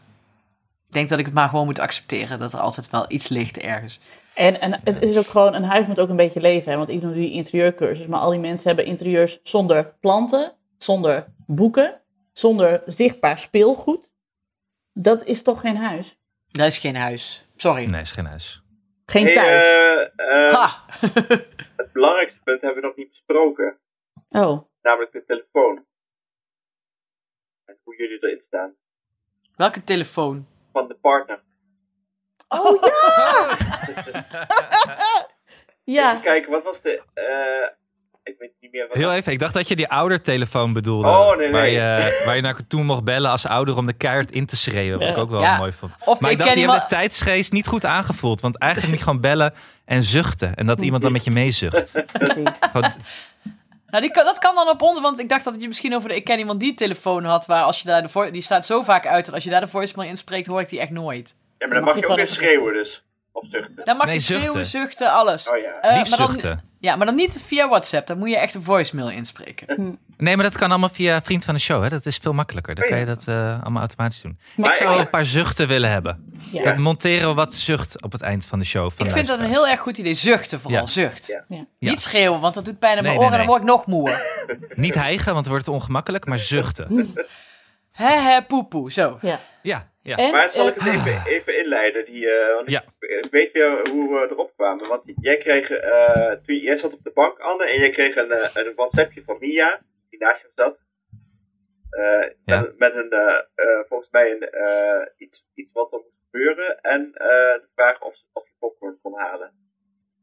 Speaker 1: Ik denk dat ik het maar gewoon moet accepteren dat er altijd wel iets ligt ergens.
Speaker 2: En, en het is ook gewoon, een huis moet ook een beetje leven. Hè? Want ik doe nu die interieurcursus, maar al die mensen hebben interieurs zonder planten, zonder boeken, zonder zichtbaar speelgoed. Dat is toch geen huis?
Speaker 1: Dat is geen huis. Sorry.
Speaker 3: Nee, is geen huis.
Speaker 2: Geen
Speaker 4: Hey,
Speaker 2: thuis.
Speaker 4: eh, eh,
Speaker 1: Ha!
Speaker 4: het belangrijkste punt hebben we nog niet besproken. eh.
Speaker 2: Oh,
Speaker 4: Namelijk de telefoon. En hoe jullie erin staan.
Speaker 1: Welke telefoon?
Speaker 4: Van de partner.
Speaker 2: oh ja! ja,
Speaker 4: Even kijken, wat was de... eh, ik weet niet meer wat...
Speaker 3: Heel even, ik dacht dat je die oudertelefoon bedoelde.
Speaker 4: Oh, nee,
Speaker 3: Waar
Speaker 4: nee.
Speaker 3: je, waar je naar toen mocht bellen als ouder om de keihard in te schreeuwen. Wat ik ook wel
Speaker 1: Ja.
Speaker 3: mooi vond.
Speaker 1: Of
Speaker 3: maar
Speaker 1: ik
Speaker 3: ik dacht,
Speaker 1: ken
Speaker 3: die
Speaker 1: iemand-
Speaker 3: hebben de tijdsgeest niet goed aangevoeld. Want eigenlijk moet je gewoon bellen en zuchten. En dat iemand dan met je meezucht.
Speaker 2: precies.
Speaker 3: Gewoon-
Speaker 1: Nou, die, kan- dat kan dan op ons, want ik dacht dat je misschien over de Ik ken iemand die telefoon had, waar als je daar de vo- die staat zo vaak uit dat als je daar de voicemail inspreekt, hoor ik die echt nooit.
Speaker 4: Ja, maar dan mag je ook
Speaker 2: gewoon
Speaker 4: weer
Speaker 2: even-
Speaker 4: schreeuwen dus. Of zuchten.
Speaker 1: Dan mag
Speaker 3: Nee,
Speaker 1: je schreeuwen,
Speaker 3: zuchten.
Speaker 1: zuchten, alles.
Speaker 4: Oh ja.
Speaker 1: Eh,
Speaker 3: Lief
Speaker 1: maar dan-
Speaker 3: zuchten.
Speaker 1: Ja, maar dan niet via WhatsApp, dan moet je echt een voicemail inspreken.
Speaker 2: Hmm.
Speaker 3: Nee, maar dat kan allemaal via vriend van de show. Hè? Dat is veel makkelijker. Dan kan je dat eh, allemaal automatisch doen.
Speaker 2: Maar
Speaker 3: Ik
Speaker 4: ik
Speaker 3: zou wel
Speaker 4: zou-
Speaker 3: een paar zuchten willen hebben.
Speaker 2: Ja.
Speaker 3: Dat monteren we wat zucht op het eind van de show. Van
Speaker 1: Ik vind dat een
Speaker 3: luisteraars.
Speaker 1: heel erg goed idee. Zuchten vooral,
Speaker 3: Ja.
Speaker 1: zucht.
Speaker 4: Ja.
Speaker 2: Ja.
Speaker 1: Niet schreeuwen, want dat doet pijn aan mijn
Speaker 3: Nee, nee,
Speaker 1: oren en dan word ik nog moe.
Speaker 3: Niet hijgen, want het wordt ongemakkelijk. Maar zuchten.
Speaker 1: hè hè, poepoe, zo.
Speaker 2: ja.
Speaker 3: Ja, ja.
Speaker 2: En,
Speaker 4: Maar zal ik
Speaker 2: eh,
Speaker 4: het even, even inleiden? Die, eh, want
Speaker 3: Ja.
Speaker 4: Ik weet weer hoe we erop kwamen. Want jij kreeg, eh, toen je eerst zat op de bank, Anne, en jij kreeg een, eh, een WhatsAppje van Mia, die naast je zat. Eh,
Speaker 3: Ja.
Speaker 4: met, met een, eh, eh, volgens mij een, eh, iets, iets wat er moest gebeuren. En eh, de vraag of, of je popcorn kon halen.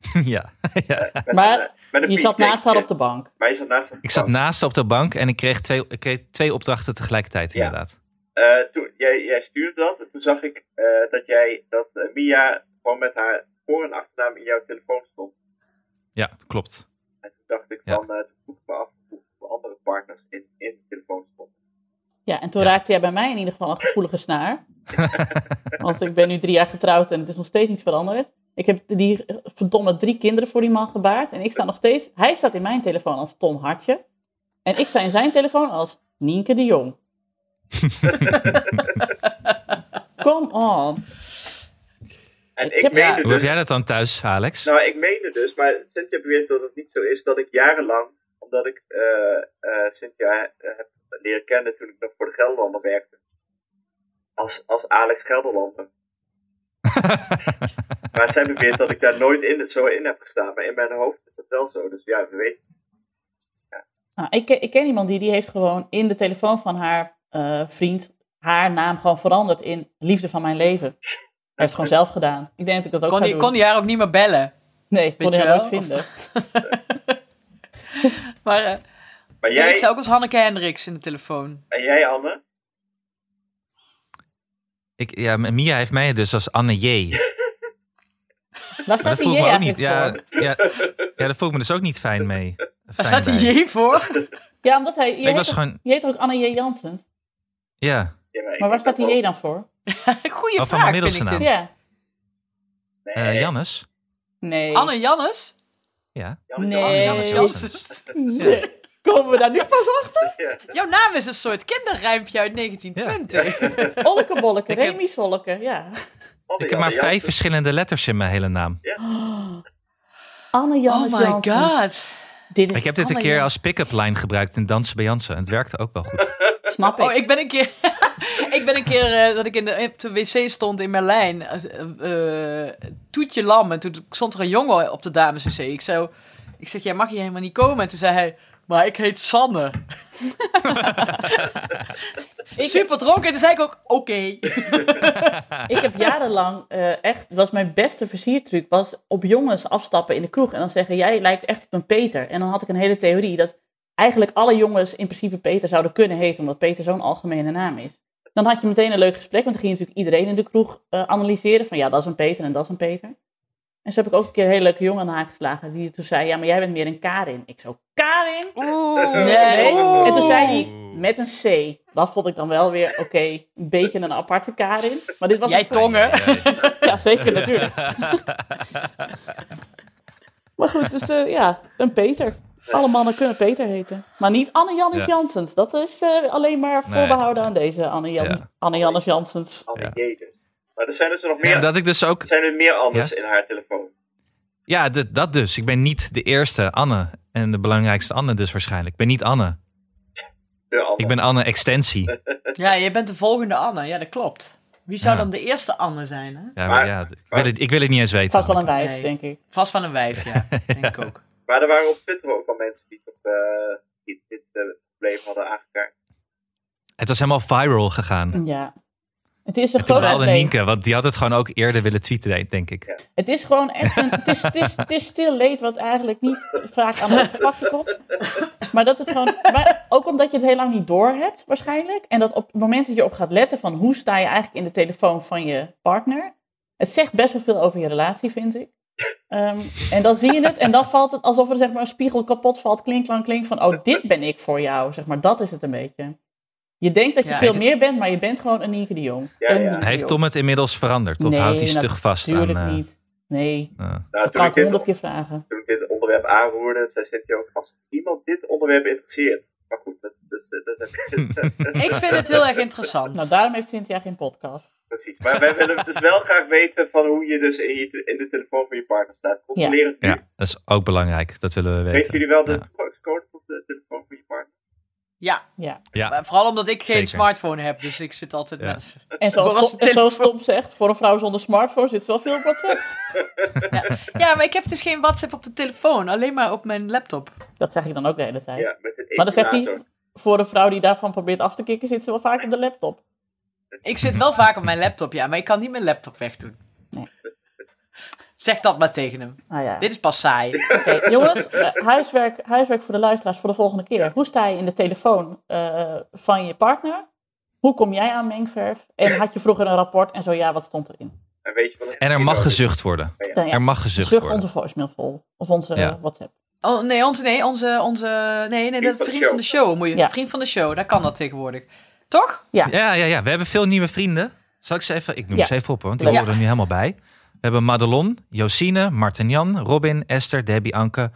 Speaker 3: ja. ja.
Speaker 4: Met
Speaker 2: Maar
Speaker 4: een, eh, met een
Speaker 2: je zat
Speaker 4: piece
Speaker 2: naast haar op
Speaker 4: steekje.
Speaker 2: de bank.
Speaker 4: Maar je zat naast haar op de
Speaker 3: Ik zat
Speaker 4: bank.
Speaker 3: naast haar op de bank en ik kreeg twee, ik kreeg twee opdrachten tegelijkertijd,
Speaker 4: Ja.
Speaker 3: inderdaad.
Speaker 4: Eh, toen, jij, jij stuurde dat en toen zag ik eh, dat, jij, dat eh, Mia gewoon met haar voor- en achternaam in jouw telefoon stond.
Speaker 3: Ja, klopt.
Speaker 4: En toen dacht ik
Speaker 3: Ja.
Speaker 4: van, eh, toen vroeg ik me af hoeveel andere partners in, in de telefoon stonden.
Speaker 2: Ja, en toen
Speaker 3: Ja.
Speaker 2: raakte jij bij mij in ieder geval een gevoelige snaar. Want ik ben nu drie jaar getrouwd en het is nog steeds niet veranderd. Ik heb die eh, verdomme drie kinderen voor die man gebaard. En ik sta nog steeds... Hij staat in mijn telefoon als Ton Hartje. En ik sta in zijn telefoon als Nienke de Jong. Come on.
Speaker 4: En
Speaker 2: Ik
Speaker 4: ik,
Speaker 2: heb-
Speaker 4: meende
Speaker 2: Ja.
Speaker 3: Hoe heb
Speaker 4: dus,
Speaker 3: jij dat dan thuis, Alex?
Speaker 4: nou ik meende dus, maar Cynthia beweert dat het niet zo is, dat ik jarenlang, omdat ik eh, eh, Cynthia eh, heb leren kennen toen ik nog voor de Gelderlander werkte. Als, als Alex Gelderlander. maar zij beweert dat ik daar nooit in, zo in heb gestaan, maar in mijn hoofd is dat wel zo. Dus ja, we weten.
Speaker 2: Nou, ik, ken- ik ken iemand die, die heeft gewoon in de telefoon van haar eh, vriend... haar naam gewoon veranderd in Liefde van mijn leven. Hij heeft het gewoon zelf gedaan. Ik denk dat ik dat ook
Speaker 1: Kon
Speaker 2: ga
Speaker 1: die,
Speaker 2: doen.
Speaker 1: kon die haar ook niet meer bellen.
Speaker 2: nee, kon
Speaker 1: je
Speaker 2: hij haar nooit
Speaker 1: wel? Of-
Speaker 2: vinden.
Speaker 1: Maar eh,
Speaker 4: Maar
Speaker 1: nee, ik
Speaker 4: jij,
Speaker 1: zei ook als Hanneke Hendricks in de telefoon.
Speaker 4: en jij Anne,
Speaker 3: Ik, ja, Mia heeft mij dus als Anne J.
Speaker 2: Waar
Speaker 3: Maar dat
Speaker 2: staat die
Speaker 3: voel
Speaker 2: J
Speaker 3: ik me ook
Speaker 2: eigenlijk
Speaker 3: niet. Ja,
Speaker 2: voor?
Speaker 3: ja, ja, dat voel ik me dus ook niet fijn mee.
Speaker 1: Daar
Speaker 3: Fijn
Speaker 1: staat die
Speaker 3: bij.
Speaker 1: J voor.
Speaker 2: Ja, omdat hij... Je
Speaker 3: Ik
Speaker 2: heet,
Speaker 3: was
Speaker 2: toch,
Speaker 3: gewoon.
Speaker 2: je heet toch ook Anne J. Jansen?
Speaker 3: Ja.
Speaker 4: Ja, ik-
Speaker 2: Maar waar
Speaker 4: ik
Speaker 2: staat
Speaker 4: ben
Speaker 2: die J
Speaker 4: wel-
Speaker 2: dan voor?
Speaker 1: Goeie
Speaker 3: Oh, van
Speaker 1: vraag,
Speaker 3: mijn
Speaker 1: vind ik
Speaker 3: middelste
Speaker 1: dit.
Speaker 2: Ja.
Speaker 3: eh,
Speaker 4: Nee,
Speaker 3: Jannes?
Speaker 2: Nee.
Speaker 1: Anne Jannes?
Speaker 3: Ja.
Speaker 4: Jan is
Speaker 2: Nee.
Speaker 4: Jansen.
Speaker 3: Jannes
Speaker 2: Eh,
Speaker 3: Janssens.
Speaker 2: Nee. Komen we daar nu pas achter?
Speaker 1: Jouw naam is een soort kinderrijmpje uit 1920.
Speaker 2: Olleke bolleke,
Speaker 3: Ik heb-
Speaker 2: Remy Solleke, ja.
Speaker 4: Anne
Speaker 3: Ik heb maar
Speaker 4: Janne
Speaker 3: vijf
Speaker 4: Jansen.
Speaker 3: verschillende letters in mijn hele naam.
Speaker 2: Anne Jannes
Speaker 1: oh my
Speaker 2: Janssens.
Speaker 1: god.
Speaker 2: Dit is
Speaker 3: Ik heb dit een
Speaker 2: Anne
Speaker 3: keer
Speaker 2: Jan-
Speaker 3: als pick-up line gebruikt in Dansen bij Jansen. En het werkte ook wel goed.
Speaker 2: Snap ik.
Speaker 1: Oh, ik ben een keer, ik ben een keer eh, dat ik in de, op de wc stond in Berlijn. eh, eh, toetje lam. En toen stond er een jongen op de dames wc. Ik, zo, ik zeg, jij mag hier helemaal niet komen. En toen zei hij, maar ik heet Sanne.
Speaker 2: Ik-
Speaker 1: Super dronken. En toen zei ik ook, oké.
Speaker 2: Ik heb jarenlang eh, echt, was mijn beste versiertruc, was op jongens afstappen in de kroeg en dan zeggen, jij lijkt echt op een Peter. En dan had ik een hele theorie dat eigenlijk alle jongens in principe Peter zouden kunnen heten, omdat Peter zo'n algemene naam is. Dan had je meteen een leuk gesprek, want dan ging je natuurlijk iedereen in de kroeg eh, analyseren. Van ja, dat is een Peter en dat is een Peter. En zo heb ik ook een keer een hele leuke jongen aan de haak geslagen. Die toen zei, ja, maar jij bent meer een Karin. Ik zo, Karin?
Speaker 1: Oh.
Speaker 3: Oeh.
Speaker 2: Nee.
Speaker 1: Oeh.
Speaker 2: En toen zei hij met een C. Dat vond ik dan wel weer, oké, een beetje een aparte Karin. Maar dit was
Speaker 1: Jij
Speaker 2: een-
Speaker 1: tongen.
Speaker 2: Ja, zeker, natuurlijk. Maar goed, dus eh, ja, een Peter. Alle mannen kunnen Peter heten. Maar niet Anne-Jannes
Speaker 3: Ja.
Speaker 2: Janssens. Dat is eh, alleen maar
Speaker 3: Nee.
Speaker 2: voorbehouden aan deze Anne-Jannes
Speaker 3: Ja.
Speaker 2: Anne Janssens.
Speaker 4: Anne
Speaker 3: Ja.
Speaker 4: Jegers. Maar er zijn dus nog
Speaker 3: Ja,
Speaker 4: meer,
Speaker 3: dat ik dus ook
Speaker 4: er zijn er meer anders in haar telefoon.
Speaker 3: Ja, d- dat dus. Ik ben niet de eerste Anne. En de belangrijkste Anne dus waarschijnlijk. Ik ben niet Anne.
Speaker 4: De Anne.
Speaker 3: Ik ben Anne Extensie.
Speaker 1: Ja, je bent de volgende Anne. Ja, dat klopt. Wie zou
Speaker 3: Ja.
Speaker 1: dan de eerste Anne zijn? Hè?
Speaker 3: Ja, maar
Speaker 4: Maar-
Speaker 3: ja, d- ik, wil het, ik wil het niet eens
Speaker 2: Het was
Speaker 3: weten.
Speaker 2: wel een
Speaker 3: Anneke.
Speaker 2: wijf,
Speaker 1: Nee.
Speaker 2: denk ik.
Speaker 1: Vast wel een wijf, ja. Denk ik ook.
Speaker 4: Maar er waren op Twitter ook al mensen die, tot, eh, die dit eh, probleem hadden aangekaart.
Speaker 3: Het was helemaal viral gegaan.
Speaker 2: Ja. Het is een
Speaker 3: Toen
Speaker 2: groot
Speaker 3: baalde
Speaker 2: probleem.
Speaker 3: Nienke, want die had het gewoon ook eerder willen tweeten, denk ik.
Speaker 4: Ja.
Speaker 2: Het is gewoon echt een... Het is, het is, het is stil leed wat eigenlijk niet vaak aan de oppervlakte komt. Maar dat het gewoon... Maar ook omdat je het heel lang niet door hebt, waarschijnlijk. En dat op het moment dat je op gaat letten van... hoe sta je eigenlijk in de telefoon van je partner... Het zegt best wel veel over je relatie, vind ik. Ehm, en dan zie je het en dan valt het alsof er zeg maar, een spiegel kapot valt. Klink, klank, klink. Van, oh, dit ben ik voor jou. Zeg maar, dat is het een beetje. Je denkt dat je
Speaker 1: Ja,
Speaker 2: veel
Speaker 1: het-
Speaker 2: meer bent, maar je bent gewoon een Nienke de Jong.
Speaker 4: Ja,
Speaker 2: Een
Speaker 4: ja.
Speaker 2: Nienke de
Speaker 3: Heeft
Speaker 2: Jong.
Speaker 3: Tom het inmiddels veranderd? Of
Speaker 2: Nee,
Speaker 3: houdt hij stug vast
Speaker 2: Natuurlijk
Speaker 3: aan... eh,
Speaker 2: niet. Nee,
Speaker 3: eh,
Speaker 4: Nou,
Speaker 2: dat
Speaker 4: toen
Speaker 2: kan
Speaker 4: ik,
Speaker 2: ik
Speaker 4: dit,
Speaker 2: honderd keer vragen.
Speaker 4: toen ik dit onderwerp aanroerde, zei Cynthia ook, als iemand dit onderwerp interesseert. Maar goed, dat, dus, eh, dat heb ik
Speaker 1: Ik vind het heel erg interessant.
Speaker 2: Nou, daarom heeft Cynthia geen podcast.
Speaker 4: precies. Maar wij willen dus wel graag weten van hoe je dus in, je, te- in de telefoon van je partner staat. Controleer het nu.
Speaker 3: eh, ja, dat is ook belangrijk. Dat willen we weten.
Speaker 4: Weten jullie wel de
Speaker 3: Ja.
Speaker 4: toegangscode op de telefoon van je partner?
Speaker 1: Ja,
Speaker 2: Ja.
Speaker 3: Ja.
Speaker 1: maar Eh, vooral omdat ik geen
Speaker 3: Zeker.
Speaker 1: smartphone heb. Dus ik zit altijd
Speaker 3: Ja.
Speaker 1: met...
Speaker 2: En zoals,
Speaker 1: Hoe was
Speaker 2: Tom,
Speaker 1: de
Speaker 2: en zoals Tom zegt, voor een vrouw zonder smartphone zit wel veel op WhatsApp.
Speaker 1: Ja, maar ik heb dus geen WhatsApp op de telefoon. Alleen maar op mijn laptop.
Speaker 2: Dat zeg ik dan ook de hele tijd.
Speaker 4: Ja, met een
Speaker 2: Maar dan zegt hij,
Speaker 4: emulator.
Speaker 2: voor een vrouw die daarvan probeert af te kicken, zit ze wel vaak op de laptop.
Speaker 1: Ik zit wel vaak op mijn laptop, ja. Maar ik kan niet mijn laptop wegdoen.
Speaker 2: Nee.
Speaker 1: Zeg dat maar tegen hem.
Speaker 2: Nou ja.
Speaker 1: Dit is pas saai.
Speaker 2: Oké, jongens, eh, huiswerk, huiswerk voor de luisteraars voor de volgende keer. Hoe sta je in de telefoon eh, van je partner? Hoe kom jij aan mengverf? En had je vroeger een rapport? En zo ja, wat stond erin?
Speaker 4: En, weet je wat
Speaker 3: En
Speaker 4: een
Speaker 3: er
Speaker 4: emulator
Speaker 3: mag
Speaker 4: is?
Speaker 3: gezucht worden.
Speaker 2: Nou ja,
Speaker 3: Er mag gezucht
Speaker 2: zucht
Speaker 3: worden.
Speaker 2: onze voicemail vol. Of onze
Speaker 3: Ja.
Speaker 2: eh, WhatsApp.
Speaker 1: Oh, nee, onze, nee, onze, onze, nee, nee, dat
Speaker 4: van de
Speaker 1: vriend van de show. Moet je,
Speaker 2: Ja.
Speaker 1: Vriend van de show, daar kan dat tegenwoordig. Toch?
Speaker 3: Ja, ja, ja. We hebben veel nieuwe vrienden. Zal ik ze even... Ik noem
Speaker 2: Ja.
Speaker 3: ze even op, hoor, want die
Speaker 1: Ja.
Speaker 3: horen er nu helemaal bij. We hebben Madelon, Josine, Martin Jan, Robin, Esther, Debbie, Anke,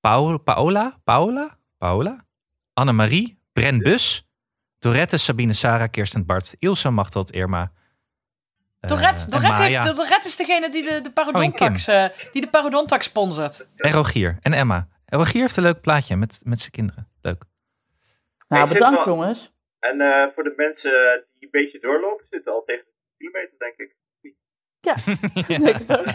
Speaker 3: Paul, Paola, Paola, Paola, Annemarie, Bren Bus, Dorette, Sabine, Sarah, Kirsten, Bart, Ilse, Machteld, Irma. eh, Oh,
Speaker 1: Dorette,
Speaker 3: en
Speaker 1: Dorette,
Speaker 3: Maya,
Speaker 1: heeft, Dorette is degene die de, de parodontax, eh, die de parodontax sponsort.
Speaker 3: En Rogier en Emma. En Rogier heeft een leuk plaatje met, met zijn kinderen. Leuk.
Speaker 4: Hij
Speaker 2: Nou,
Speaker 4: zit
Speaker 2: bedankt
Speaker 4: wel-
Speaker 2: jongens.
Speaker 4: En eh, voor de mensen die een beetje doorlopen, zitten al tegen de kilometer, denk ik.
Speaker 2: Denk het ook.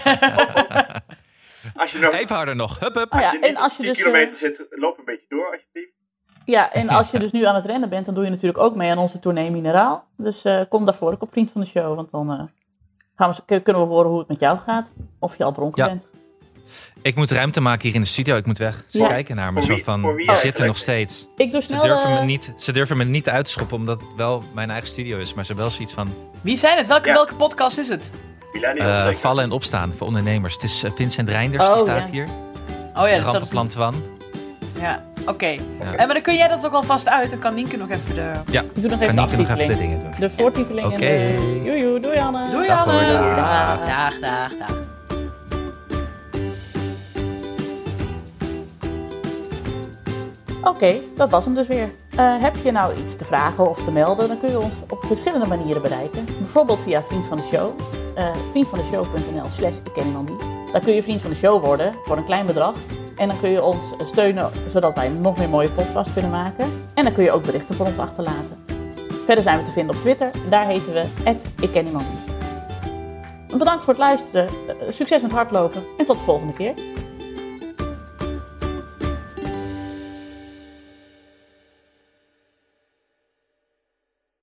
Speaker 4: Als je nou- nog
Speaker 3: Even harder nog. Hup, hup.
Speaker 1: Oh,
Speaker 2: Ah, ja,
Speaker 4: als je niet
Speaker 2: en
Speaker 4: op
Speaker 2: als je
Speaker 4: 10
Speaker 2: dus,
Speaker 4: kilometer
Speaker 2: eh,
Speaker 4: zit, loop een beetje door alsjeblieft.
Speaker 2: Ja, en als je dus nu aan het rennen bent, dan doe je natuurlijk ook mee aan onze tournee Mineraal. Dus eh, kom daarvoor ook op Vriend van de Show, want dan eh, gaan we, z- kun- kunnen we horen hoe het met jou gaat. Of je al dronken
Speaker 3: Ja.
Speaker 2: bent.
Speaker 3: Ik moet ruimte maken hier in de studio. Ik moet weg. Ze
Speaker 2: Ja.
Speaker 3: kijken naar me
Speaker 4: Voor
Speaker 3: zo
Speaker 4: wie-
Speaker 3: van,
Speaker 4: voor wie
Speaker 3: je zit er
Speaker 4: eigenlijk?
Speaker 3: nog steeds.
Speaker 2: Ik doe
Speaker 3: Ze
Speaker 2: snel...
Speaker 3: durven, me
Speaker 2: eh,
Speaker 3: niet, ze durven me niet uit te schoppen, omdat het wel mijn eigen studio is. Maar ze hebben wel zoiets van
Speaker 1: Wie zijn het? Welke,
Speaker 4: Ja.
Speaker 1: welke podcast is het? Oh
Speaker 4: Millennials
Speaker 3: eh,
Speaker 4: zeker.
Speaker 3: vallen en opstaan voor ondernemers. Het is eh, Vincent Reinders,
Speaker 2: Oh,
Speaker 3: die staat
Speaker 2: ja.
Speaker 3: hier.
Speaker 1: Oh ja, dat staat op...
Speaker 3: Rampenplan Twan.
Speaker 1: Ja, oké. Eh, maar dan kun jij dat ook alvast uit. Dan kan Nienke nog even de...
Speaker 3: Ja,
Speaker 2: Ik doe nog even
Speaker 3: kan
Speaker 2: de
Speaker 3: ik nog even de
Speaker 2: aftiteling.
Speaker 3: dingen doen.
Speaker 2: De voortiteling
Speaker 3: Oké.
Speaker 2: en de... Joe, joe, doei Anne.
Speaker 1: Doei,
Speaker 3: Dag,
Speaker 1: Anne.
Speaker 3: hoor, dag.
Speaker 1: Dag, dag, dag, dag.
Speaker 2: Oké, dat was hem dus weer. Eh, heb je nou iets te vragen of te melden, dan kun je ons op verschillende manieren bereiken. Bijvoorbeeld via Vriend van de Show. eh vriendvandeshow.nl slash ik ken iemand die. Daar kun je Vriend van de Show worden voor een klein bedrag. En dan kun je ons steunen, zodat wij nog meer mooie podcasts kunnen maken. En dan kun je ook berichten voor ons achterlaten. Verder zijn we te vinden op Twitter. Daar heten we ik ken iemand die. Bedankt voor het luisteren. eh, succes met hardlopen en tot de volgende keer.